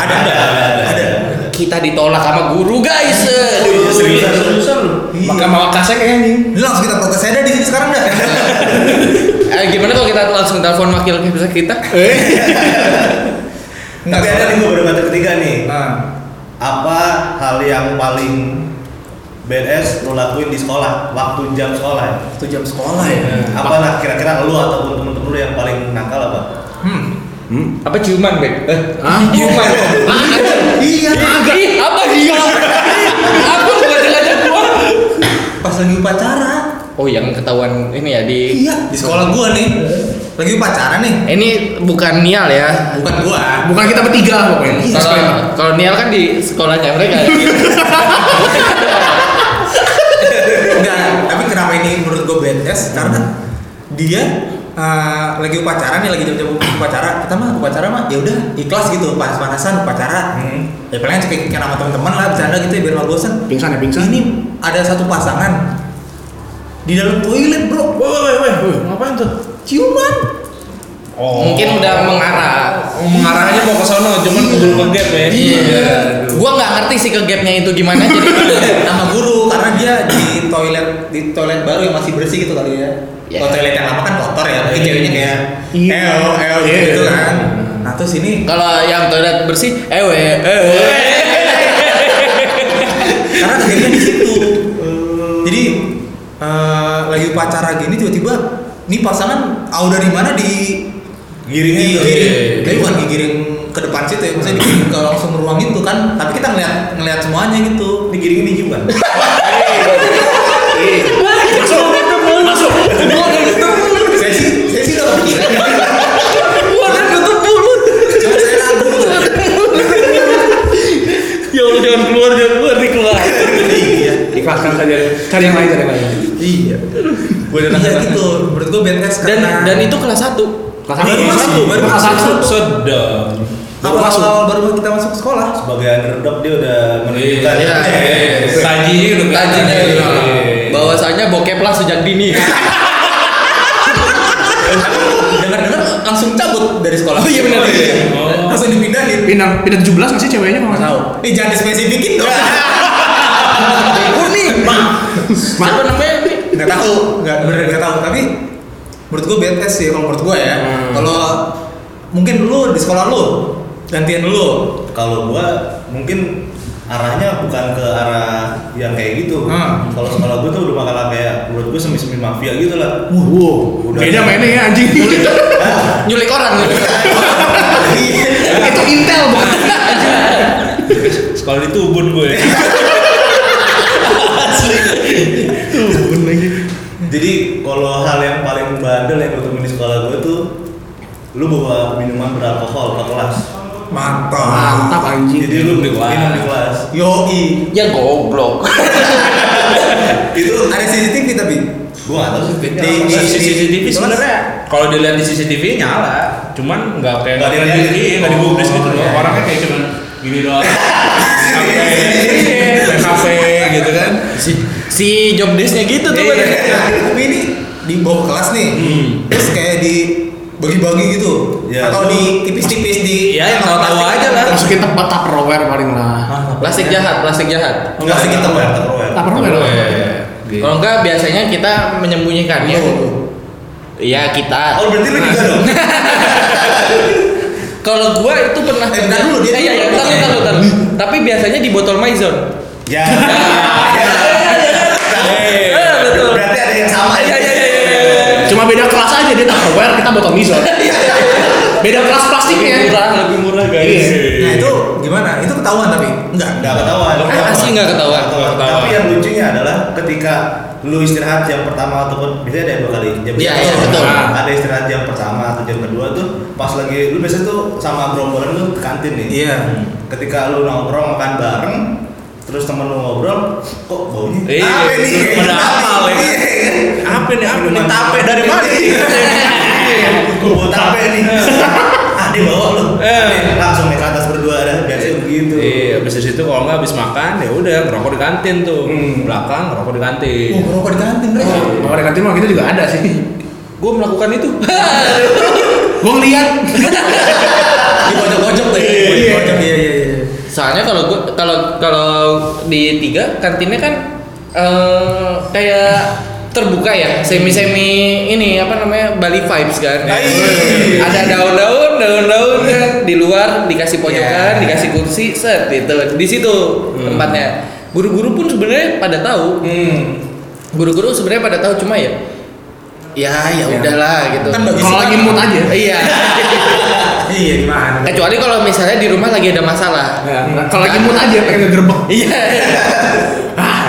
S5: Ada ada ada. ada.
S1: kita ditolak sama guru guys.
S5: Iya,
S1: Aduh.
S5: seriusan seriusan lu.
S2: Maka mawa kasek ya anjing.
S3: ini langsung kita protes aja di sini sekarang dah
S1: Eh, gimana kalau kita langsung telepon wakil bisa kita?
S2: Eh,
S3: Nggak,
S5: Tapi ada
S3: soalnya-
S5: nih gue berkata ketiga nih.
S3: nah
S5: Apa hal yang paling BS lu lakuin di sekolah waktu jam sekolah?
S3: waktu jam sekolah ya
S5: Apa lah kira-kira lu ataupun temen-temen lu yang paling nakal apa?
S3: hmm.
S1: Apa ciuman, Bek? Eh, ciuman.
S3: iya
S1: Agak. Iya. Ih, apa dia? Aku bukan sengaja gua.
S3: pas lagi upacara
S1: Oh, yang ketahuan ini ya di
S3: iya di sekolah gua nih lagi upacara nih
S1: ini bukan Nial ya.
S3: bukan gua
S2: bukan kita bertiga pokoknya.
S1: Kalau kalau Nial kan di sekolahnya mereka.
S3: enggak tapi kenapa ini menurut gua BTS karena dia eh, lagi upacara nih lagi jam-jam upacara kita mah upacara mah ya udah ikhlas gitu panas-panasan upacara ya paling cekik sama teman-teman lah bercanda gitu ya biar nggak bosan
S2: Pingsan ya, pingsan.
S3: ini ada satu pasangan di dalam toilet bro
S6: Woi, woi, woi, woi, ngapain tuh?
S3: ciuman
S1: Mungkin udah mengarah.
S6: Oh, mengarahnya mau ke sono, cuman
S3: Iya.
S6: belum ke gap ya.
S1: Iya. Gua nggak ngerti sih ke gapnya itu gimana jadi. (laughs)
S6: iya.
S3: sama guru karena dia di toilet di toilet baru yang masih bersih gitu kali ya
S1: Ya.
S3: kalau toilet yang lama kan kotor ya mungkin
S6: Iya.
S3: ceweknya kayak
S2: Iya.
S3: el el
S2: Iya.
S3: gitu kan nah terus ini
S1: Kalau yang toilet bersih, ewe, ewe.
S3: karena akhirnya di situ jadi eh, lagi upacara gini tiba-tiba nih pasangan tahu dari mana di
S5: Giring
S3: di-
S5: itu.
S3: giring tapi bukan digiring ke depan situ ya maksudnya digiring ke langsung ruang itu kan tapi kita ngeliat ngeliat semuanya gitu
S5: Ini giring ini
S3: (laughs)
S5: gimana?
S3: saya sih saya sih udah kepikiran
S1: Waduh, tutup mulut.
S3: cuma saya ragu
S1: Ya Allah, jangan keluar, jangan keluar, dikeluar.
S3: iya
S2: Ikhlaskan saja. Cari yang lain, cari yang lain.
S3: iya iya gitu menurut gua BTS
S1: Dan
S3: karena
S1: dan itu kelas 1.
S3: baru masuk Iya, baru
S2: Kelas
S3: masuk
S2: satu.
S6: Sedap.
S3: awal awal baru kita masuk sekolah
S5: Sebagai underdog dia udah menunjukkan
S1: Iya, iya,
S5: Nah,
S6: Tajinya udah
S1: Tajinya
S6: kelihatan.
S1: itu.
S6: Iya.
S1: Bahwasanya bokeplah sejak dini.
S3: dengar dengar langsung cabut dari sekolah oh iya benar iya.
S6: Oh.
S3: langsung dipindahin
S2: Pindah pindah 17 nggak sih ceweknya kalau nggak
S3: Tahu.
S2: tahu.
S3: Nih jangan dispesifikin dong. Aku nih, Bang.
S1: Apa namanya? Bi?
S3: Enggak tahu, enggak benar enggak tahu, tapi menurut gua BTS sih kalau menurut gua ya. Kalau mungkin lu di sekolah lu gantian lu.
S5: Kalau gua mungkin arahnya bukan ke arah yang kayak gitu.
S3: Hmm.
S5: Kalau sekolah gua tuh udah makalah kayak menurut gua semi-semi mafia gitu lah.
S2: Wow,
S5: Udah.
S2: beda mainnya ya anjing.
S1: Nyulik orang.
S2: (laughs)
S1: ya.
S2: Itu intel bukan.
S5: (laughs) Sekolah di Tubun gue.
S2: Tubun lagi.
S5: Jadi kalau hal yang paling bandel yang gue temuin di sekolah gue tuh lu bawa minuman beralkohol ke kelas.
S3: Mantap.
S2: Mantap anjing.
S5: Jadi lu
S6: Minum di
S5: minum
S6: kelas.
S5: di kelas.
S3: Yoi.
S1: Ya goblok.
S5: Itu
S3: Ada CCTV tapi.
S5: gue gak tau sih
S6: Di-
S5: tipenya
S6: di-
S5: apa.
S6: di CCTV
S3: Jelas.
S6: sebenarnya kalau dilihat di CCTV nyala, cuman nggak kayak
S5: Nggak dilihat.
S6: iya, nggak digubris gitu
S5: Oh,
S6: loh.
S5: iya.
S6: Orangnya kayak cuman gini doang.
S3: Iya.
S6: Sampai kafe gitu kan.
S1: Si si job desk-nya gitu tuh.
S6: Iya.
S1: Bang.
S3: Tapi ini di bawah kelas nih.
S6: Hmm.
S3: Terus kayak di bagi-bagi gitu
S5: Ya.
S3: atau di tipis-tipis di
S6: Iya, yang tahu-tahu aja lah.
S2: Masukin tempat tupperware paling lah.
S3: Nah,
S1: Plastik jahat, plastik jahat.
S5: Enggak sih kita bayar terowel.
S6: Iya,
S2: Tupperware lah.
S1: Iya,
S6: Gitu.
S1: Kalau enggak biasanya kita menyembunyikannya. Iya, kita.
S5: Oh berarti lu juga dong.
S1: Kalau gua itu pernah
S3: Eh, bentar dulu, dia
S1: Eh, iya, iya,
S3: dulu.
S1: bentar, bentar, bentar. Tapi biasanya di botol Maison.
S5: Ya.
S1: iya.
S5: (laughs) Iya,
S1: Eh, betul.
S5: Berarti ada yang sama.
S6: ya.
S1: Iya, iya, iya, iya, iya.
S2: Cuma beda kelas aja dia tupperware, kita botol miso. Beda kelas plastiknya.
S1: Murah, lebih murah,
S2: Iya.
S3: Nah itu gimana? Itu ketahuan tapi enggak.
S5: Nggak ketahuan.
S1: Ah, pasti nggak ketahuan.
S5: Nggak ketahuan. Tapi yang lucunya adalah ketika lu istirahat jam pertama ataupun biasanya ada dua kali jam
S1: Iya,
S5: pertama.
S1: iya, betul.
S5: Nah, ada istirahat jam pertama atau jam kedua tuh pas lagi lu biasa tuh sama gerombolan lu ke kantin nih
S3: Iya.
S5: ketika lu nongkrong makan bareng terus temen lu ngobrol kok baunya
S6: Iya,
S5: apa nih
S6: pada apal ya.
S5: Iya.
S6: Apa nih? Apa nih?
S5: Minuman-
S6: Tape dari mana?
S5: Iya, Iya, gua bawa tape nih ah dia bawa lu langsung naik ke atas berdua dah biasanya begitu gitu.
S6: Iya, habis dari situ kalau nggak habis makan ya udah ngerokok di kantin tuh.
S1: Hmm.
S6: Belakang ngerokok di kantin.
S3: Oh, ngerokok di kantin, Bre.
S6: Ngerokok di kantin mah kita juga ada sih. Gue melakukan itu.
S2: Gue ngeliat.
S3: Di pojok-pojok tuh. ya. Di pojok, Iya, iya, iya.
S1: Soalnya kalau gua kalau kalau di tiga kantinnya kan eh, kayak terbuka ya semi semi ini apa namanya Bali vibes kan
S5: Hai.
S1: ada daun-daun daun-daun kan di luar dikasih pojokan
S3: Ya.
S1: dikasih kursi set gitu di situ Hmm. tempatnya guru-guru pun sebenarnya pada tahu guru-guru sebenarnya pada tahu cuma ya ya ya udahlah gitu
S3: Kan bagi
S2: Kalau
S3: suka-
S2: lagi mood aja.
S1: iya
S3: Iya, gimana?
S1: kecuali kalau misalnya di rumah lagi ada masalah
S2: Nah, Kalau lagi mood aja pengen ngegerbek.
S1: iya
S5: Ah,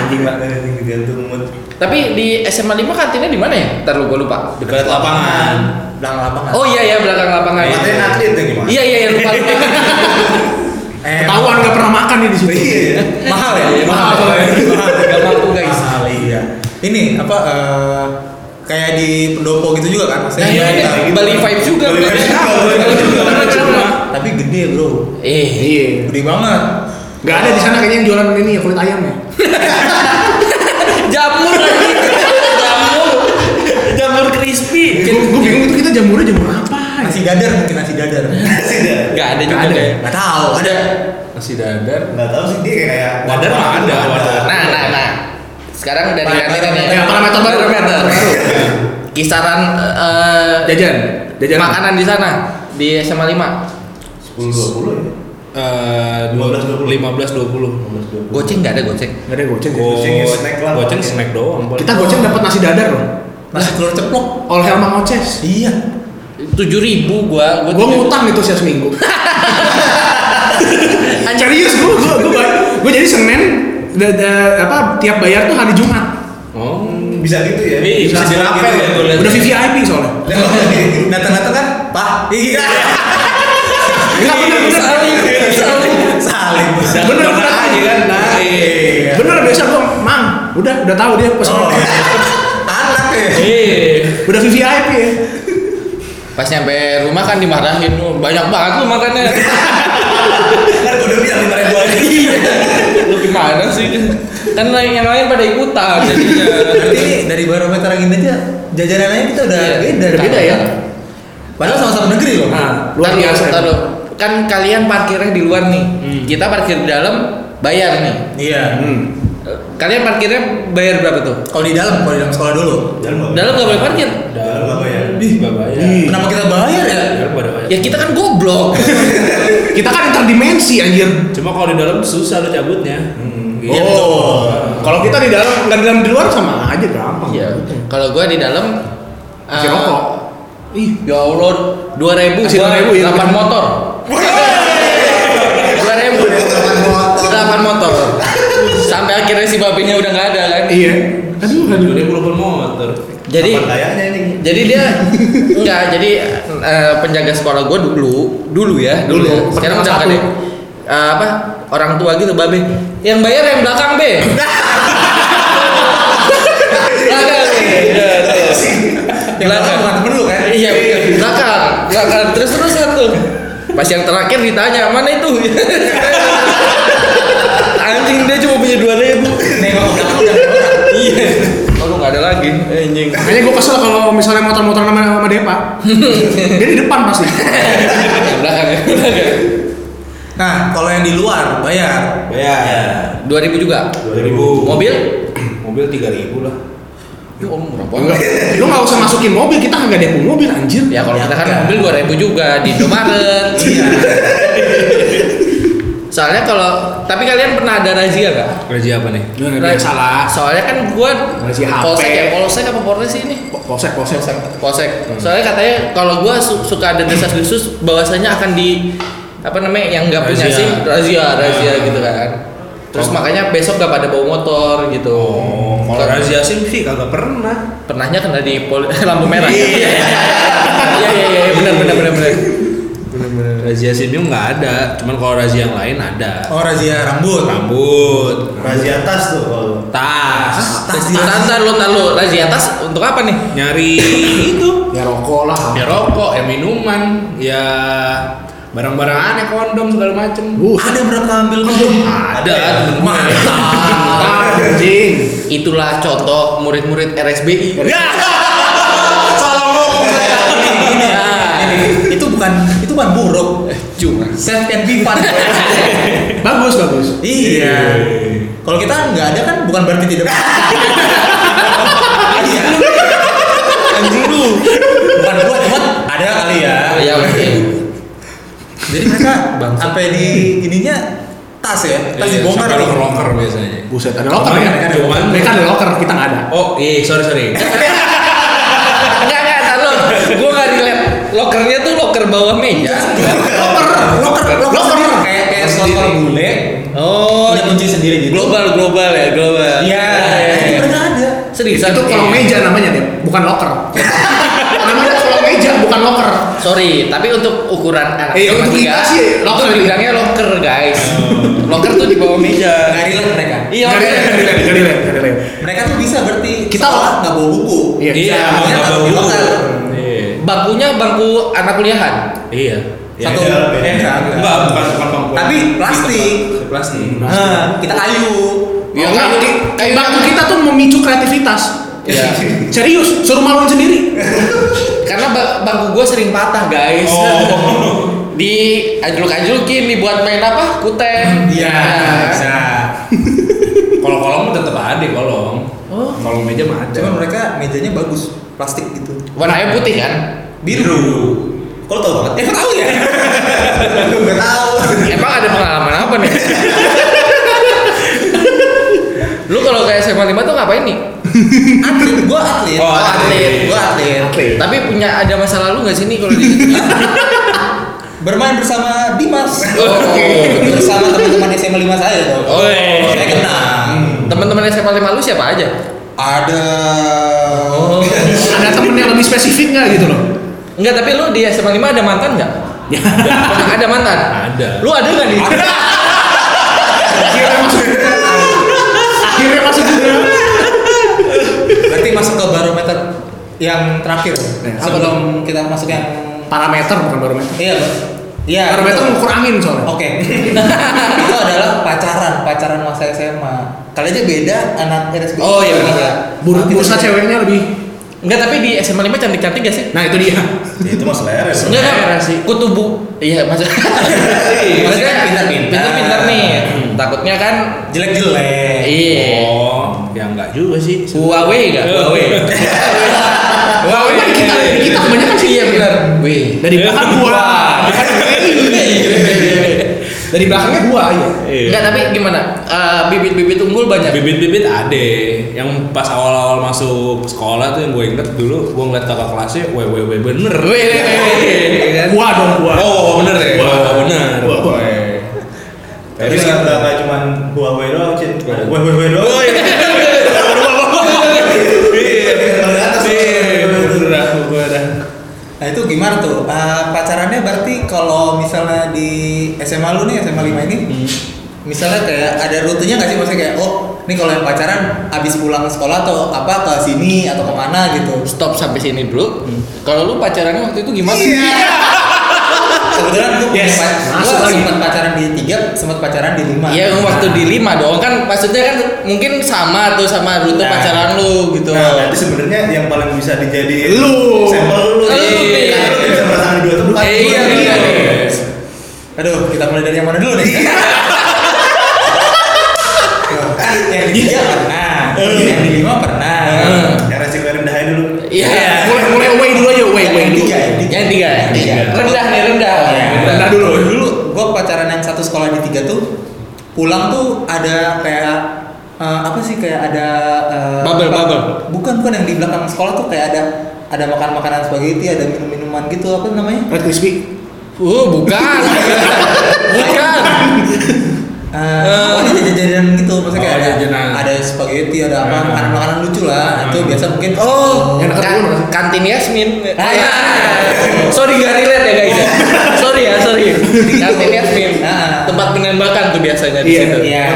S3: Iya.
S5: anjing lah, anjing digantung mood.
S1: Tapi di SMA 5 kantinnya di mana ya? Ntar lu gue lupa.
S5: Dekat lapangan.
S3: Belakang lapangan.
S1: Oh iya ya belakang lapangan.
S5: Matain atlet ya gimana?
S1: Iya iya iya lupa lupa.
S3: Eh,
S2: Ketahuan nggak pernah makan nih di situ.
S5: Iya.
S3: mahal ya?
S1: Mahal.
S3: Mahal.
S1: Gak mampu guys.
S3: Mahal, iya. Ini apa eh, kayak di pendopo gitu juga kan
S1: Nah,
S3: maksudnya.
S1: iya,
S3: kita-
S1: iya. Bali vibe juga.
S5: Bali vibes juga, Bali vibes juga.
S1: Bener, bener, bener.
S3: Tapi gede, Bro.
S1: Eh.
S2: Iya.
S3: Gede banget.
S2: Gak ada di sana kayaknya yang jualan ini ya kulit ayam ya.
S1: Jamur lagi. Jamur. Jamur crispy.
S2: Gue bingung itu kita jamurnya jamur apa? ya?
S3: Nasi dadar mungkin nasi dadar.
S5: (laughs) Masih dah.
S1: Gak ada juga deh.
S3: Enggak tahu, ada.
S6: Masih dadar.
S5: Nggak tahu sih dia kayak
S6: Wadah mah ada, wadah.
S1: Nah nah nah. Sekarang dari
S3: Parameter
S1: kantin ini.
S3: baru.
S2: Ya, parameter baru.
S1: Parameter baru. Kisaran eh,
S6: Jajan. Jajan.
S1: makanan di sana di SMA 5
S5: Sepuluh dua puluh ya.
S6: Eh,
S5: 15-20.
S6: 15-20
S1: Goceng nggak ada goceng?
S2: Gak ada goceng. ya?
S5: Goceng
S6: Go-
S5: snack lah.
S6: Goceng snack doang.
S2: Kita goceng dapat nasi dadar loh.
S3: Nasi telur ceplok.
S2: Oleh Helma Oces.
S3: Iya.
S1: tujuh ribu gua
S2: Gue
S1: tiga-
S2: ngutang itu setiap (laughs) seminggu. Serius gue, gue, gue, gue jadi Senin da- da- apa tiap bayar tuh hari Jumat.
S6: Oh.
S5: Bisa gitu ya.
S6: Iya, bisa dirapel ya, gua liat.
S2: Udah VVIP soalnya.
S5: Dan kalau lagi
S3: Datang-datang kan, Pak. Iya.
S2: Enggak
S1: Iya.
S2: bener bener.
S1: Saling, saling.
S3: Saling.
S6: Dan
S2: Bener,
S6: bener
S2: bener.
S6: aja kan. Nah,
S3: Iya.
S2: Bener biasa gue, mang, udah udah tahu dia pas
S3: Oh. Anak ya.
S6: Iya.
S2: udah VVIP ya.
S1: Pas nyampe rumah kan dimarahin, "Oh, banyak banget lu makannya.
S5: kan gua udah bilang lima ribu aja.
S1: lu gimana sih? Kan lain- yang lain pada ikutan jadinya.
S3: Berarti ini dari barometer angin aja jajanan lain kita udah
S1: Iya,
S3: beda. kan?
S1: udah beda ya.
S3: Padahal sama-sama negeri loh.
S2: Nah, luar
S1: Taruh,
S2: biasa. emang.
S1: taruh. Kan kalian parkirnya di luar nih. Kita parkir di dalam bayar nih.
S3: Iya.
S2: Hmm.
S1: Eh, Kalian parkirnya bayar berapa tuh?
S3: Kalau di dalam, kalau di dalam sekolah dulu.
S5: Dalam nggak?
S1: Dalam nggak boleh parkir.
S5: Dalam nggak apa ya?
S2: Iya.
S6: Gak bayar.
S3: Kenapa kita bayar ya?
S6: Dalam gak ada bayar.
S1: Ya kita kan goblok.
S2: Kita kan interdimensi anjir.
S6: Cuma kalau di dalam susah lo cabutnya. Gitu.
S2: Oh, kalau kita di dalam nggak di dalam di luar sama aja gampang.
S1: ya. Kalau gua di dalam
S2: Masih
S1: eh,
S2: rokok. Ih,
S1: Ya Allah, 2000
S2: Masih
S1: 2000
S2: 2000 ya?
S1: 8 motor. 2000 8 motor. Sampai akhirnya si babinya udah nggak ada kan.
S2: iya. Aduh, aduh.
S6: Udah belum motor.
S1: Jadi
S5: Kapan kayaknya ini?
S1: jadi dia enggak jadi eh, penjaga sekolah gue dulu dulu ya dulu, ya.
S2: Dulu,
S1: sekarang udah
S2: pertama
S1: nggak ada
S2: satu.
S1: Eh, apa orang tua gitu babe yang bayar yang belakang
S3: (laughs)
S1: be belakang Be. Iya, tuh.
S3: Yang dalam
S1: belakang
S3: bukan temen lu kan?
S1: Iya, belakang, belakang terus terus satu. Pas yang terakhir ditanya mana itu? (laughs) Anjing dia cuma punya dua ribu.
S3: Nengok ke belakang udah nengok.
S1: Iya. Oh lu nggak ada lagi. Anjing.
S2: Makanya gue kesel kalau misalnya motor-motor sama, sama Depa. Dia di depan pasti.
S1: belakang ya.
S3: Nah, kalau yang di luar bayar. Iya.
S5: Ya.
S1: Dua ribu juga.
S6: 2000.
S1: Mobil?
S6: Mobil 3000 lah.
S1: Ya om murah
S2: Enggak. Lu nggak usah masukin mobil, kita nggak ada yang mobil anjir.
S1: Ya kalau kita kan
S3: Ya.
S1: mobil dua ribu juga di
S6: (laughs)
S1: Indomaret.
S3: Iya.
S1: Soalnya kalau tapi kalian pernah ada razia nggak?
S6: Kerja apa nih?
S2: Gimana biasa lah.
S1: Soalnya kan gua
S2: Razia HP.
S1: polsek ya polsek apa polres sih ini?
S2: Posek, posek.
S1: polsek.
S6: Hmm.
S1: Soalnya katanya kalau gua su- suka ada desas-desus bahwasanya akan di apa namanya yang nggak punya
S6: Razia. Ah.
S1: sih razia razia gitu kan. Terus makanya besok gak pada bawa motor gitu.
S6: Oh, kalau razia sih sih kagak pernah.
S1: Pernahnya kena di poli- (laughs) lampu merah. Iya iya iya iya benar benar benar benar.
S6: Razia simium nggak ada, cuman kalau razia yang lain ada.
S3: Oh, razia rambut. Ah,
S6: Rambut,
S5: Razia tas tuh kalau
S6: tas,
S3: Tas di
S1: Tahan tahan lu tahan lu razia atas untuk apa nih?
S6: nyari itu,
S2: Ya rokok lah.
S6: ya rokok, ya minuman, ya barang-barang aneh kondom segala macem
S2: Uh,
S3: Ada berapa ambil kondom?
S6: ada
S5: ya?
S6: temen gue.
S2: Iya.
S1: Mantap.
S6: anjing
S1: Iya. Itulah contoh murid-murid RSBI.
S3: Salah ngomong saya. Ini,
S1: Iya.
S3: ini, ini. Itu bukan itu bukan buruk.
S1: Eh, Cuma.
S3: Self can be fun.
S2: bagus bagus.
S3: iya. Kalau kita nggak ada kan bukan berarti tidak. Iya. Anjing lu. Bukan gua cuma ada kali ya.
S1: Ya mungkin.
S3: Jadi mereka sampai di ininya tas ya, tas dibongkar.
S6: Sampai
S3: nih.
S6: locker-locker biasanya
S2: Buset, ada locker ya?
S6: Mereka ada locker.
S2: Mereka ada locker, kita nggak ada.
S6: oh iya sorry sorry
S1: Enggak enggak tahu. Gua enggak relate. Lokernya tuh loker bawah meja.
S3: Locker, locker, locker, sendiri. kayak kayak locker bule.
S1: Oh,
S3: Punya kunci sendiri gitu.
S1: global global ya, global.
S3: Iya, itu mereka ada.
S1: Seriusan.
S2: Itu
S1: Eh,
S2: kolong meja namanya deh, bukan locker. namanya kolong meja, bukan locker.
S1: Sorry, tapi untuk ukuran anak
S2: Eh,
S1: sama
S2: untuk
S1: tiga,
S2: kita sih, locker.
S1: itu bilangnya loker, guys. loker tuh di bawah meja.
S3: Nggak relate mereka.
S1: Iya,
S2: Nggak relate, nggak relate, nggak relate, nggak relate.
S3: Mereka tuh bisa berarti
S2: Kita-
S3: sekolah nggak bawa buku.
S2: Iya,
S6: iya
S3: Bisa,
S6: mau
S3: makanya
S6: nggak
S3: taruh
S6: bau
S3: di locker.
S6: Iya.
S1: bangkunya bangku anak kuliahan.
S6: iya
S5: Ya,
S3: Satu
S5: iya, beda.
S3: meja.
S6: enggak bukan bukan bangku
S3: Tapi plastik.
S6: plastik
S3: Hah, kita kayu.
S1: Ya,
S2: Ya,
S1: kayak- Oh.
S2: kayak,
S1: kayak-
S2: bangku kita tuh memicu kreativitas.
S1: Iya.
S2: (laughs) Serius, suruh maluin sendiri.
S1: Karena ba- bangku gue sering patah, guys. Oh. (laughs) di anjlok-anjlokin dibuat main apa? Kutek. Nah,
S3: Iya, bisa.
S6: kalau kolong mah tetap ada kolong
S1: Oh.
S6: kolong meja mah ada
S3: Cuman mereka mejanya bagus, plastik gitu.
S1: Warnanya putih kan?
S3: Biru.
S5: Kalau tau banget.
S3: Eh, kok tahu ya? Enggak tahu.
S1: Emang ada pengalaman apa nih? (laughs) Lu kalau kayak SMA 5 tuh ngapain nih?
S3: Atlet, gua atlet.
S6: Oh,
S3: Gua
S1: atlet.
S3: Gua atlet.
S1: Tapi punya ada masa lalu nggak sih nih kalau di
S3: Bermain bersama Dimas.
S1: Oke.
S3: Bersama teman-teman SMA 5 saya dong.
S1: Oh, iya.
S3: Saya kenal.
S1: Teman-teman SMA 5 lu siapa aja?
S3: Ada
S2: ada temen yang lebih spesifik nggak gitu loh?
S1: Enggak, tapi lu di SMA 5 ada mantan nggak? ada mantan?
S6: Ada.
S1: Lu ada nggak di?
S2: Akhirnya masuk juga.
S3: (laughs)
S2: Akhirnya masuk juga.
S3: Berarti masuk ke barometer yang terakhir.
S1: Iya,
S2: Nah,
S3: Sebelum kita masuk yang
S2: Parameter bukan barometer.
S3: iya, Bang. Iya.
S2: Barometer
S3: itu.
S2: mengukur angin soalnya.
S1: Oh.
S3: Oke. (laughs) itu adalah pacaran, pacaran masa SMA. Kali aja beda anak RSB.
S1: Oh, iya, benar.
S2: Bur- bursa ceweknya lebih.
S1: Enggak, tapi di SMA 5 cantik-cantik gak sih?
S2: Nah itu dia.
S5: Ya, itu mas selera sih.
S1: Enggak, enggak sih. Kutu bu. Iya, maksudnya.
S3: Maksudnya pintar-pintar.
S1: Pintar-pintar nih. Takutnya kan
S3: Jelek-jelek.
S1: Iya.
S6: oh ya enggak juga sih
S1: Huawei enggak? Huawei. kan
S2: Wah, ini kita ini kita kebanyakan sih.
S1: Iya benar. Wih.
S2: Dari belakang gua. Dari belakangnya gua ya.
S1: Enggak, tapi gimana? Eh, bibit-bibit unggul banyak.
S6: bibit-bibit ada yang pas awal-awal masuk sekolah tuh yang gue inget dulu gue ngeliat kakak kelasnya www bener
S1: Weh, weh, weh, weh. kan?
S2: Gua dong gua.
S6: oh bener ya
S2: Wah.
S6: Wah, bener
S2: Wah, wah.
S5: Tapi nggak nggak nggak cuman Huawei doang, Cin. Ada Huawei doang. Iya, dari atas.
S6: Iya, bener aku gue dah
S3: Nah, itu gimana tuh? Ah, pacarannya berarti kalau misalnya di SMA lu nih, SMA 5 ini
S1: Hmm.
S3: Misalnya kayak ada rutenya nggak sih? Maksudnya kayak, oh ini kalau yang pacaran abis pulang sekolah atau apa ke sini atau kemana gitu
S1: Stop sampai sini dulu. Kalau lu pacarannya waktu itu gimana?
S3: Kebetulan gue
S2: Yes.
S3: punya
S2: Masuk
S3: gue
S2: lagi.
S3: sempat pacaran di tiga, sempat pacaran di lima.
S1: Iya, gua waktu di lima dong kan maksudnya kan mungkin sama tuh sama rute
S5: Nah.
S1: pacaran lu gitu.
S5: Nah, nanti sebenarnya yang paling bisa dijadiin
S2: Lu.
S5: sampel lu.
S1: Lu,
S5: Iya.
S1: iya.
S5: Lu bisa merasakan dua tempat. Nah,
S1: Eh, iya, iya.
S3: Aduh, kita mulai dari yang mana dulu nih?
S1: (laughs)
S3: Kan yang di
S1: Iya.
S3: tiga pernah, yang di lima pernah.
S5: Yang resiko yang rendah aja dulu.
S1: Iya.
S2: Mulai mulai away dulu aja, away away
S3: Yang
S2: dulu.
S3: tiga, yang tiga.
S1: Yang tiga.
S3: Yang tiga.
S1: Rendah nih, rendah.
S3: Iya.
S2: Rendah dulu.
S3: Dulu gue pacaran yang satu sekolah di tiga tuh pulang tuh ada kayak eh, apa sih kayak ada eh,
S1: Bubble,
S3: tempat-
S1: bubble.
S3: bukan bukan yang di belakang sekolah tuh kayak ada ada makan makanan spaghetti ada minum minuman gitu apa namanya
S2: Red crispy.
S1: Uh, bukan. bukan.
S3: Uh, ada jajanan gitu, maksudnya kayak
S6: Oh,
S3: ada,
S6: jajanan.
S3: ada spaghetti, ada apa,
S6: Hmm.
S3: makanan-makanan lucu lah. Nah, Itu biasa mungkin.
S1: Oh,
S2: Yang dekat
S1: ka-
S2: dulu, Mas.
S1: kantin Yasmin.
S3: Ah, iya.
S1: sorry gak relate ya guys. ya. sorry ya, sorry. Kantin Yasmin.
S3: Ah.
S1: Tempat penembakan tuh biasanya di
S2: Iya,
S1: situ.
S3: Iya.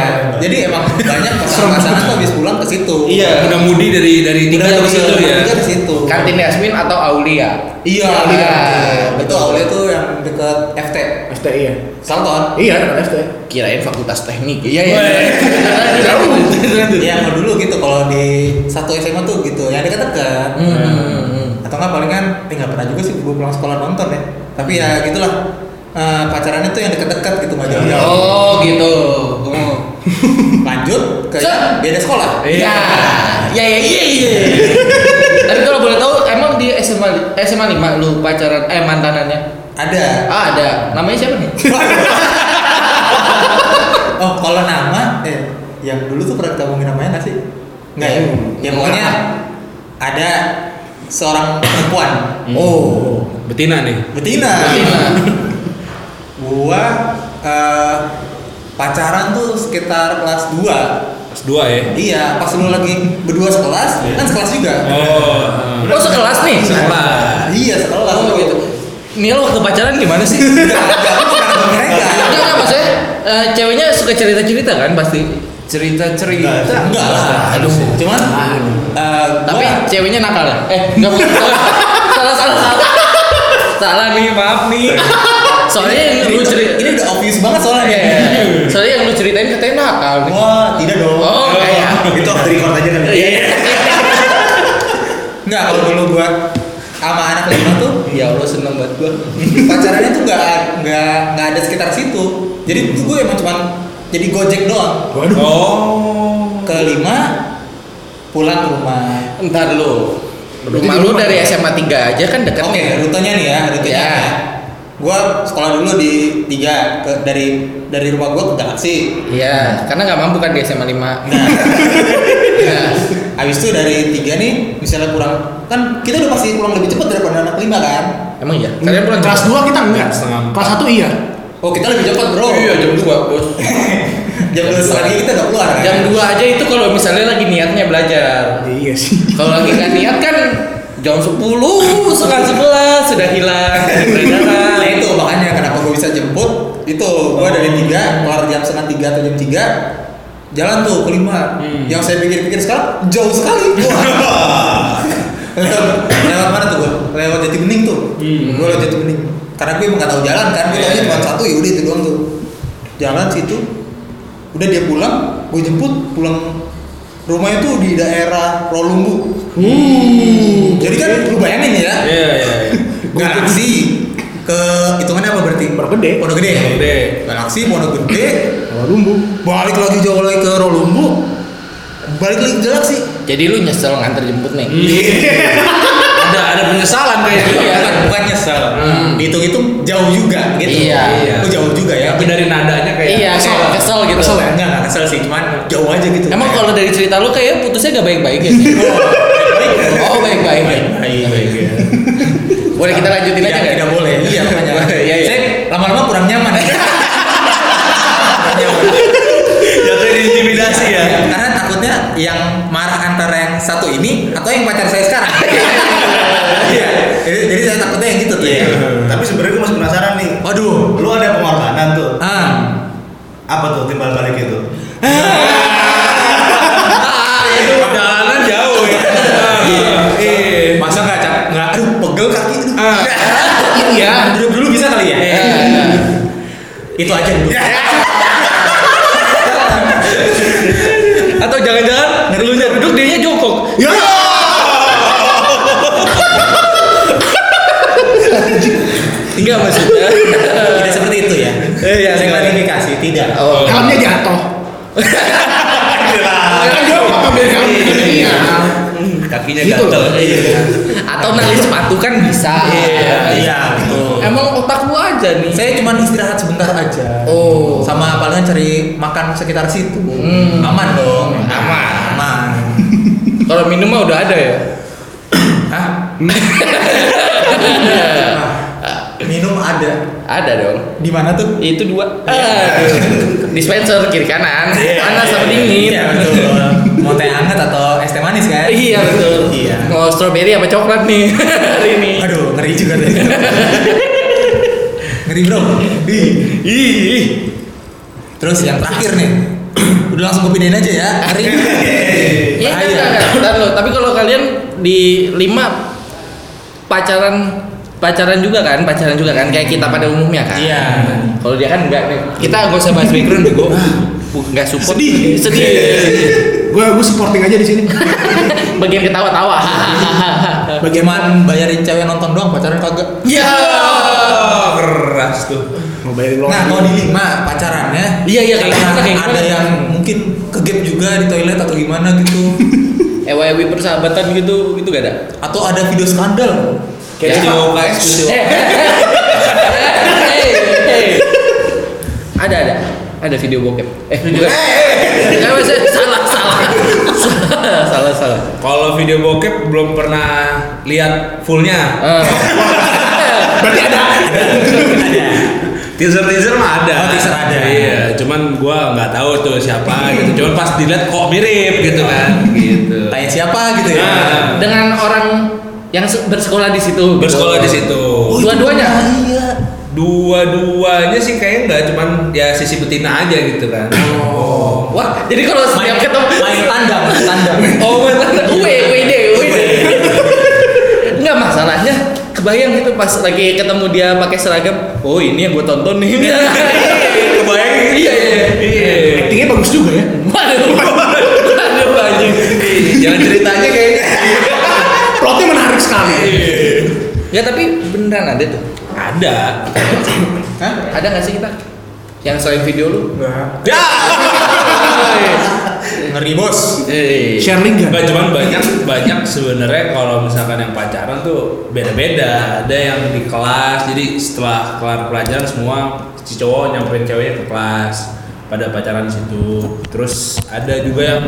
S3: Jadi emang banyak pasangan-pasangan tuh habis pulang ke situ.
S1: Iya.
S6: mudah mudi dari dari tiga
S3: Udah
S6: ke
S3: habis
S6: situ
S3: pulang
S6: ya
S3: ke situ.
S1: Kantin Yasmin atau Aulia?
S3: Iya,
S1: Aulia.
S3: Aulia. Itu Aulia tuh yang deket FT.
S2: STI ya?
S1: Oh.
S3: Salton.
S2: Iya, dekat STI.
S1: Kirain fakultas teknik.
S3: Iya, iya.
S1: Jauh.
S3: Iya, kalau dulu gitu kalau di satu SMA tuh gitu, yang dekat-dekat. Atau nggak palingan, eh nggak pernah juga sih gue pulang sekolah nonton ya. Tapi ya gitulah. Eh, pacarannya tuh yang dekat-dekat gitu nggak jauh-jauh.
S1: Oh gitu.
S3: Lanjut ke
S1: Set.
S3: beda sekolah.
S1: Iya. Iya iya iya. iya. Tapi kalau boleh tahu emang di SMA li- SMA 5 lu pacaran eh mantanannya?
S3: Ada. (laughs)
S1: Ah ada. Namanya siapa nih?
S3: Oh, kalau nama eh yang dulu tuh pernah kita ngomongin namanya nggak sih? Enggak ya.
S1: Hmm.
S3: Ya pokoknya ada seorang perempuan.
S1: Hmm.
S3: Oh,
S6: Betina nih.
S3: betina.
S1: Fatima.
S3: Gua eh, pacaran tuh sekitar kelas 2
S6: Kelas 2 ya.
S3: Iya, pas lu lagi berdua sekelas,
S1: Iya.
S3: kan sekelas juga.
S6: Oh.
S1: Oh sekelas nih.
S6: Sekolah.
S3: Iya, sekelas.
S1: Oh
S3: tuh.
S1: gitu. Nih lo waktu pacaran gimana
S3: (laughs)
S1: sih?
S3: Enggak, enggak, lu bukan sama mereka.
S1: Enggak, enggak maksudnya eh, ceweknya suka cerita-cerita kan pasti cerita-cerita.
S3: Enggak lah.
S1: Aduh.
S3: Cuman eh,
S1: Tapi
S3: gua-
S1: ceweknya nakal ya? Eh, enggak bukan. salah, salah, salah. Salah nih, maaf nih. Soalnya yang lu cerita
S3: ini udah obvious banget soalnya.
S1: iya, Soalnya yang lu ceritain katanya nakal. nih.
S3: Wah, tidak dong.
S1: Oh, kayak
S5: itu off the record aja kan
S1: Iya.
S3: Enggak, kalau dulu gua sama anak lima tuh
S1: Ya Allah seneng banget gua.
S3: pacarannya tuh nggak nggak nggak ada sekitar situ. Jadi tuh gue emang cuman jadi gojek doang.
S2: Waduh.
S6: Oh.
S3: Kelima pulang ke rumah.
S1: Entar lu. Rumah lu dari SMA 3 aja kan deket
S3: Oke,
S1: nih.
S3: rutenya nih ya, rutenya.
S1: Ya.
S3: Gua sekolah dulu di tiga ke, dari dari rumah gua ke Galaxy.
S1: Iya, karena nggak mampu kan di SMA 5.
S3: Nah,
S1: Iya.
S3: habis itu dari tiga nih misalnya kurang kan kita udah pasti pulang lebih cepat daripada anak lima kan?
S1: Emang iya. Kalian pulang
S2: kelas
S1: cepat?
S2: 2 kita enggak.
S6: Setengah empat.
S2: Kelas 1 iya.
S3: Oh kita lebih cepat bro.
S1: Iya, jam 2, Bos.
S3: Jam dua lagi kita udah keluar kan?
S1: Jam 2 aja itu kalau misalnya lagi niatnya belajar.
S2: Iya sih.
S1: Kalau lagi nggak niat kan jam 10, setengah 11 sudah hilang dari peredaran.
S3: Nah itu makanya kenapa gue bisa jemput itu gue dari tiga keluar jam setengah tiga atau jam tiga jalan tuh kelima yang saya pikir-pikir sekarang jauh sekali Wah. lewat, lewat mana tuh gue lewat jati bening tuh gue lewat jati bening karena gue emang gak tahu jalan kan gue taunya cuma satu ya udah itu doang tuh jalan situ udah dia pulang gue jemput pulang rumahnya tuh di daerah Rolumbu
S1: Hmm.
S3: jadi kan lu bayangin ya
S6: Iya, iya, iya.
S3: (laughs) Galaksi ke hitungannya apa berarti?
S2: Pondok Gede.
S3: Pondok Gede.
S6: Pondok Gede.
S3: Galaksi Pondok Gede.
S2: Kalau rumbu.
S3: Balik lagi jauh lagi ke Rolumbu. Balik lagi ke Galaksi. Iya.
S1: Jadi lu nyesel nganter jemput nih.
S6: Hmm. Iya. Ada ada penyesalan kayaknya.
S1: Iya.
S3: Bukan, bukan nyesel.
S6: Hmm.
S3: Dihitung-hitung jauh juga gitu.
S1: Iya.
S3: Oh, jauh juga ya.
S6: Tapi dari nadanya kayak
S1: Iya,
S3: kesel.
S1: kayak kesel gitu.
S3: Kesel ya? Enggak, enggak kesel sih, cuman jauh aja gitu.
S1: Emang kalau dari cerita lu kayak putusnya gak baik-baik ya? sih? Oh, baik-baik.
S3: Baik-baik. ya.
S1: Boleh kita lanjutin aja
S3: Tidak,
S1: nggak?
S3: tidak boleh. Iya, makanya.
S1: Iya, iya.
S3: Saya lama-lama kurang nyaman. Kurang nyaman. Iya,
S5: jatuh di intimidasi ya
S3: Karena takutnya yang marah antara yang satu ini atau yang pacar saya sekarang. Iya. jadi, jadi saya takutnya yang gitu tuh. ya.
S5: tapi sebenarnya gue masih penasaran nih
S3: Waduh.
S5: lu ada pengorbanan tuh
S3: Ah.
S5: apa tuh timbal balik itu
S6: perjalanan jauh ya. Iya.
S3: Masa nggak cap? Nggak. Aduh, pegel kaki. Aduh.
S6: Ah.
S3: Iya. Duduk dulu bisa kali ya.
S1: Iya.
S3: Itu aja dulu.
S1: Atau jangan-jangan lu nya duduk dia jongkok.
S2: Ya.
S1: Enggak maksudnya.
S3: Tidak seperti itu ya.
S1: Eh, iya,
S3: Saya
S1: iya.
S3: klarifikasi tidak.
S1: Oh.
S2: Helmnya jatuh.
S1: Ah,
S2: Kan dia nggak pakai helm. Iya.
S4: Kakinya
S2: Gitu
S4: gatel.
S2: loh.
S4: Iya.
S1: Atau nali sepatu kan bisa.
S3: Iya, betul.
S1: Emang otak lu aja nih.
S3: Saya cuma Eh, istirahat sebentar aja.
S1: Oh.
S3: Sama palingan cari makan sekitar situ.
S1: Hmm.
S3: Aman dong.
S1: Aman.
S3: Aman.
S1: Kalau minum mah udah ada ya.
S3: Hah?
S1: Eh.
S3: Minum ada.
S1: Ada dong.
S3: Di mana tuh?
S1: Itu dua.
S3: Iya.
S1: Aduh. Dispenser kiri kanan. Panas sama dingin.
S3: Iya, betul. (laughs) Mau teh hangat atau es teh manis kan?
S1: Iya betul.
S3: Iya.
S1: Mau strawberry apa coklat nih (laughs) hari ini?
S3: Aduh, ngeri juga
S1: (laughs)
S3: deh. ngeri bro. Di.
S1: Ih.
S3: Terus yang terakhir nih. (clears throat) Udah langsung gue pindahin
S1: (laughs)
S3: aja ya. Ngeri.
S1: Iya
S3: Bahaya.
S1: enggak, enggak, enggak. Ntar lo. Tapi kalau kalian di lima pacaran pacaran juga kan, pacaran juga kan kayak kita pada umumnya kan.
S3: Iya.
S1: Kalau dia kan enggak nih. Kita gak usah bahas background deh, gua enggak support.
S2: Sedih.
S1: Sedih.
S2: Gue gue supporting aja di sini.
S1: Bagian ketawa-tawa.
S3: Bagaimana bayarin cewek nonton doang pacaran kagak?
S1: Ya.
S6: keras tuh
S2: Mau bayarin lo.
S3: Nah, kalau di lima pacarannya
S1: Iya, iya, kayak gimana,
S3: karena
S1: kayak
S3: ada
S1: gimana?
S3: yang mungkin kegep juga di toilet atau gimana
S1: (laughs)
S3: gitu.
S1: Ewa-ewi persahabatan gitu gitu gak ada.
S3: atau ada video skandal. ya?
S1: Kayak
S6: di OKS, di
S1: Eh, eh, eh. Eh, eh, eh. Ada ada ada video bokep. Eh, video. Nggak, maksudnya salah salah. Salah, salah salah.
S6: kalau video bokep belum pernah lihat fullnya
S1: Ah.
S6: teaser teaser mah ada
S3: Oh, teaser ada.
S6: iya cuman gua nggak tahu tuh siapa gitu cuman pas dilihat kok mirip gitu kan gitu
S3: Tanya siapa gitu ya.
S6: Nah.
S1: dengan orang yang se- bersekolah di situ. gitu.
S6: bersekolah di situ
S1: Dua-duanya.
S3: Iya.
S6: dua-duanya sih kayaknya nggak cuman ya sisi betina aja gitu kan oh
S1: Wah, jadi kalau
S3: Main,
S1: setiap ketemu
S3: main tandang, main
S1: (laughs)
S3: tandang.
S1: Oh, uwe, uwe deh, uwe deh. Enggak masalahnya kebayang gitu pas lagi ketemu dia pakai seragam. Oh, ini yang gue tonton nih. (laughs) kebayang. Iya, iya.
S6: iya
S2: Actingnya bagus juga
S1: (laughs)
S2: ya.
S1: Waduh. Waduh anjing.
S6: jangan ceritanya kayaknya
S2: Plotnya menarik sekali.
S1: Ya tapi beneran ada tuh.
S6: ada
S3: Hah?
S1: Ada nggak sih kita yang selain video lu?
S6: ya
S3: Ngeri bos.
S1: Eh.
S2: Sharing kan? gak?
S6: Nggak, cuman banyak banyak sebenarnya kalau misalkan yang pacaran tuh beda-beda ada yang di kelas jadi setelah kelar pelajaran semua si cowok nyamperin ceweknya ke kelas pada pacaran di situ terus ada juga yang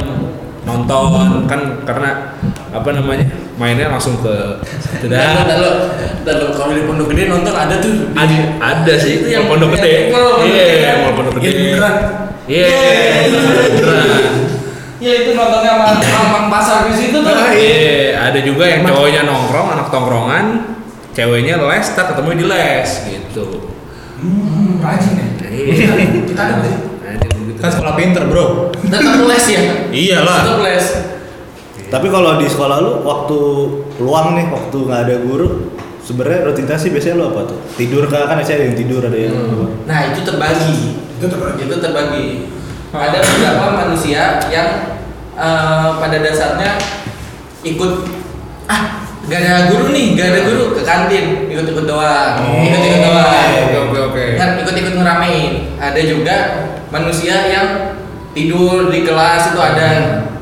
S6: nonton kan karena apa namanya mainnya langsung ke
S1: Dan
S6: tidak
S1: lo, dan lo kalau di pondok gede nonton ada tuh.
S6: ada, ada sih itu
S1: Yang-
S6: yang pondok gede
S1: yang- oh, pondok
S6: iya
S1: gede.
S6: yang pondok gede
S1: Iya, beneran.
S6: iya beneran.
S1: Ya itu nontonnya sama Mampang Pasar di situ tuh.
S6: Iya, ada juga yang cowoknya nongkrong, anak tongkrongan, ceweknya les, tak ketemu di les gitu. Iya.
S3: Kita ada tuh.
S6: Ada begitu.
S3: Kan sekolah pinter bro.
S1: Tetap les ya.
S3: Iyalah.
S1: Tetap les.
S5: Tapi kalau di sekolah lu waktu luang nih, waktu nggak ada guru, sebenarnya rutinitas sih biasanya lu apa tuh? Tidur kah? Kan biasanya ada yang tidur, ada yang
S1: Nah itu terbagi. Itu terbagi. Itu terbagi.
S6: Hmm.
S1: Ada beberapa manusia yang eh, pada dasarnya ikut ah gak ada guru nih, gak ada guru ke kantin ikut-ikut doang, ikut-ikut doang.
S6: Oh, Oke, oke, oke.
S1: Kan ikut-ikut ngeramein. Ada juga manusia yang tidur di kelas itu ada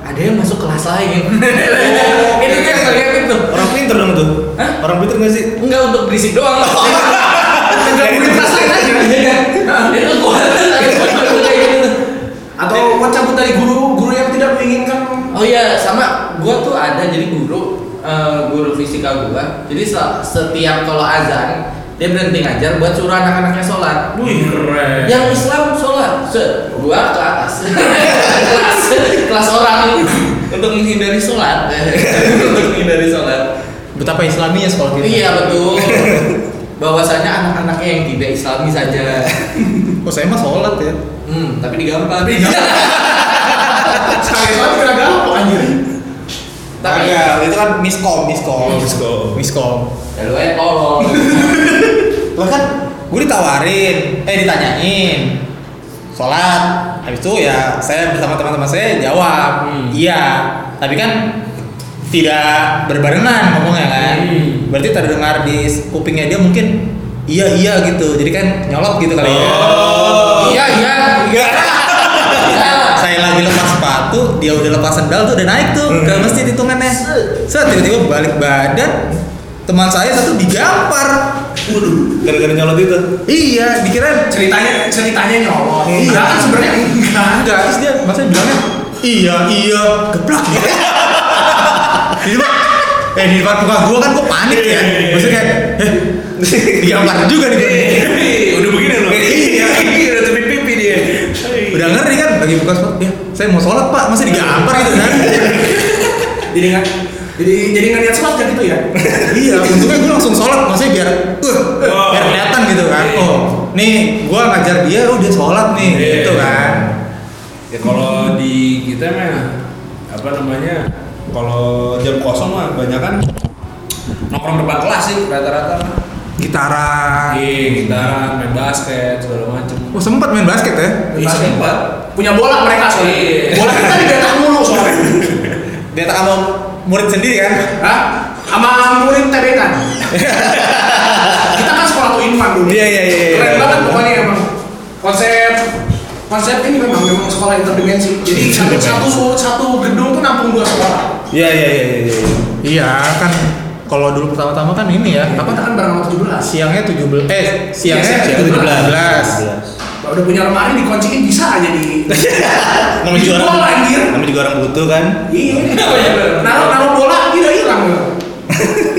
S1: ada yang masuk kelas lain.
S6: Oh,
S1: (laughs) itu kan terlihat itu.
S5: orang pinter dong tuh.
S1: Hah?
S5: Orang pinter nggak sih?
S1: Enggak untuk berisik
S6: (laughs)
S1: doang. Enggak
S3: (laughs)
S1: untuk berisik aja. Dia
S6: (laughs)
S1: kekuatan ada kekuatan kayak gitu.
S2: Atau mau cabut dari guru guru yang tidak menginginkan?
S1: Oh iya, sama gua tuh ada jadi guru eh, guru fisika gua. Jadi se- setiap kalau azan dia berhenti ngajar buat suruh anak-anaknya sholat.
S6: Wih, keren.
S1: Yang Islam sholat, se gua ke atas, kelas (laughs) kelas orang untuk menghindari sholat, (laughs) untuk menghindari sholat.
S3: Betapa islaminya sekolah kita.
S1: Iya betul. Bahwasanya anak-anaknya yang tidak Islami saja.
S3: Oh saya mah sholat ya.
S1: Hmm, tapi digampar. Tapi (laughs)
S2: Sekali lagi kira gampang anjir.
S1: tapi
S3: Agak, itu kan miskom, miskom.
S6: Miskom.
S3: Miskom.
S1: ya lu aja tolong.
S3: Lah kan gue ditawarin, eh ditanyain. Sholat. Habis itu ya saya bersama teman-teman saya jawab, iya. Tapi kan tidak berbarengan ngomongnya kan.
S1: Hmm.
S3: Berarti terdengar di kupingnya dia mungkin iya iya gitu. Jadi kan nyolot gitu kali ya.
S1: Iya iya.
S3: Iya. saya lagi lepas sepatu, dia udah lepas sendal tuh udah naik tuh ke masjid hitungannya. Set tiba-tiba balik badan, teman saya satu digampar.
S5: Gara-gara nyolot itu.
S3: Iya, dikira
S2: Ceritanya ceritanya nyolot.
S3: Iya.
S2: Enggak kan sebenarnya enggak.
S3: enggak, terus dia masa bilangnya iya iya geblak (laughs) gitu. di depan, eh di depan muka gua kan gua panik ya. Maksudnya kayak eh, digampar juga nih. gua.
S6: Ih, udah begini
S2: (laughs)
S6: loh. Iya, iya, udah tepit pipi dia.
S3: Udah ngeri kan bagi buka sepatu. Ya, saya mau sholat pak, masih digampar gitu kan.
S2: Jadi enggak jadi jadi nggak niat sholat gitu ya?
S3: iya, untungnya gua langsung sholat, maksudnya biar uh, biar kelihatan gitu kan. Oh, nih gua ngajar dia, oh dia sholat nih,
S6: Iya.
S3: gitu kan.
S6: Ya kalau di kita mah apa namanya? Kalau jam kosong mah banyak kan nongkrong depan kelas sih rata-rata
S3: Gitaran.
S6: Iya, gitaran, main basket, segala macem
S3: Oh sempat main basket ya?
S6: Iya, sempat
S2: Punya bola mereka
S6: Iya.
S2: soalnya. Bola kita di daerah mulu soalnya.
S3: Dia tak sama murid sendiri kan?
S2: Hah? Sama murid
S3: (laughs)
S2: TBK. kita kan sekolah tuh infan dulu.
S3: Iya, iya, iya,
S2: Keren
S3: iya.
S2: banget pokoknya emang. Konsep konsep ini memang memang sekolah interdimensi. Jadi satu satu satu gedung tuh nampung dua sekolah.
S3: Iya iya iya iya. Iya kan kalau dulu pertama-tama kan ini ya Iya.
S2: Apa
S3: apa
S2: kan barang nomor 17?
S3: siangnya 17 eh siangnya
S2: Siangnya
S3: 17.
S2: Udah punya lemari dikunciin bisa aja
S3: (laughs)
S2: di
S5: Namanya juga
S2: Bola,
S5: orang
S2: anjir.
S5: Namanya juga orang butuh kan.
S2: Iya, naruh naruh bola tidak hilang. loh.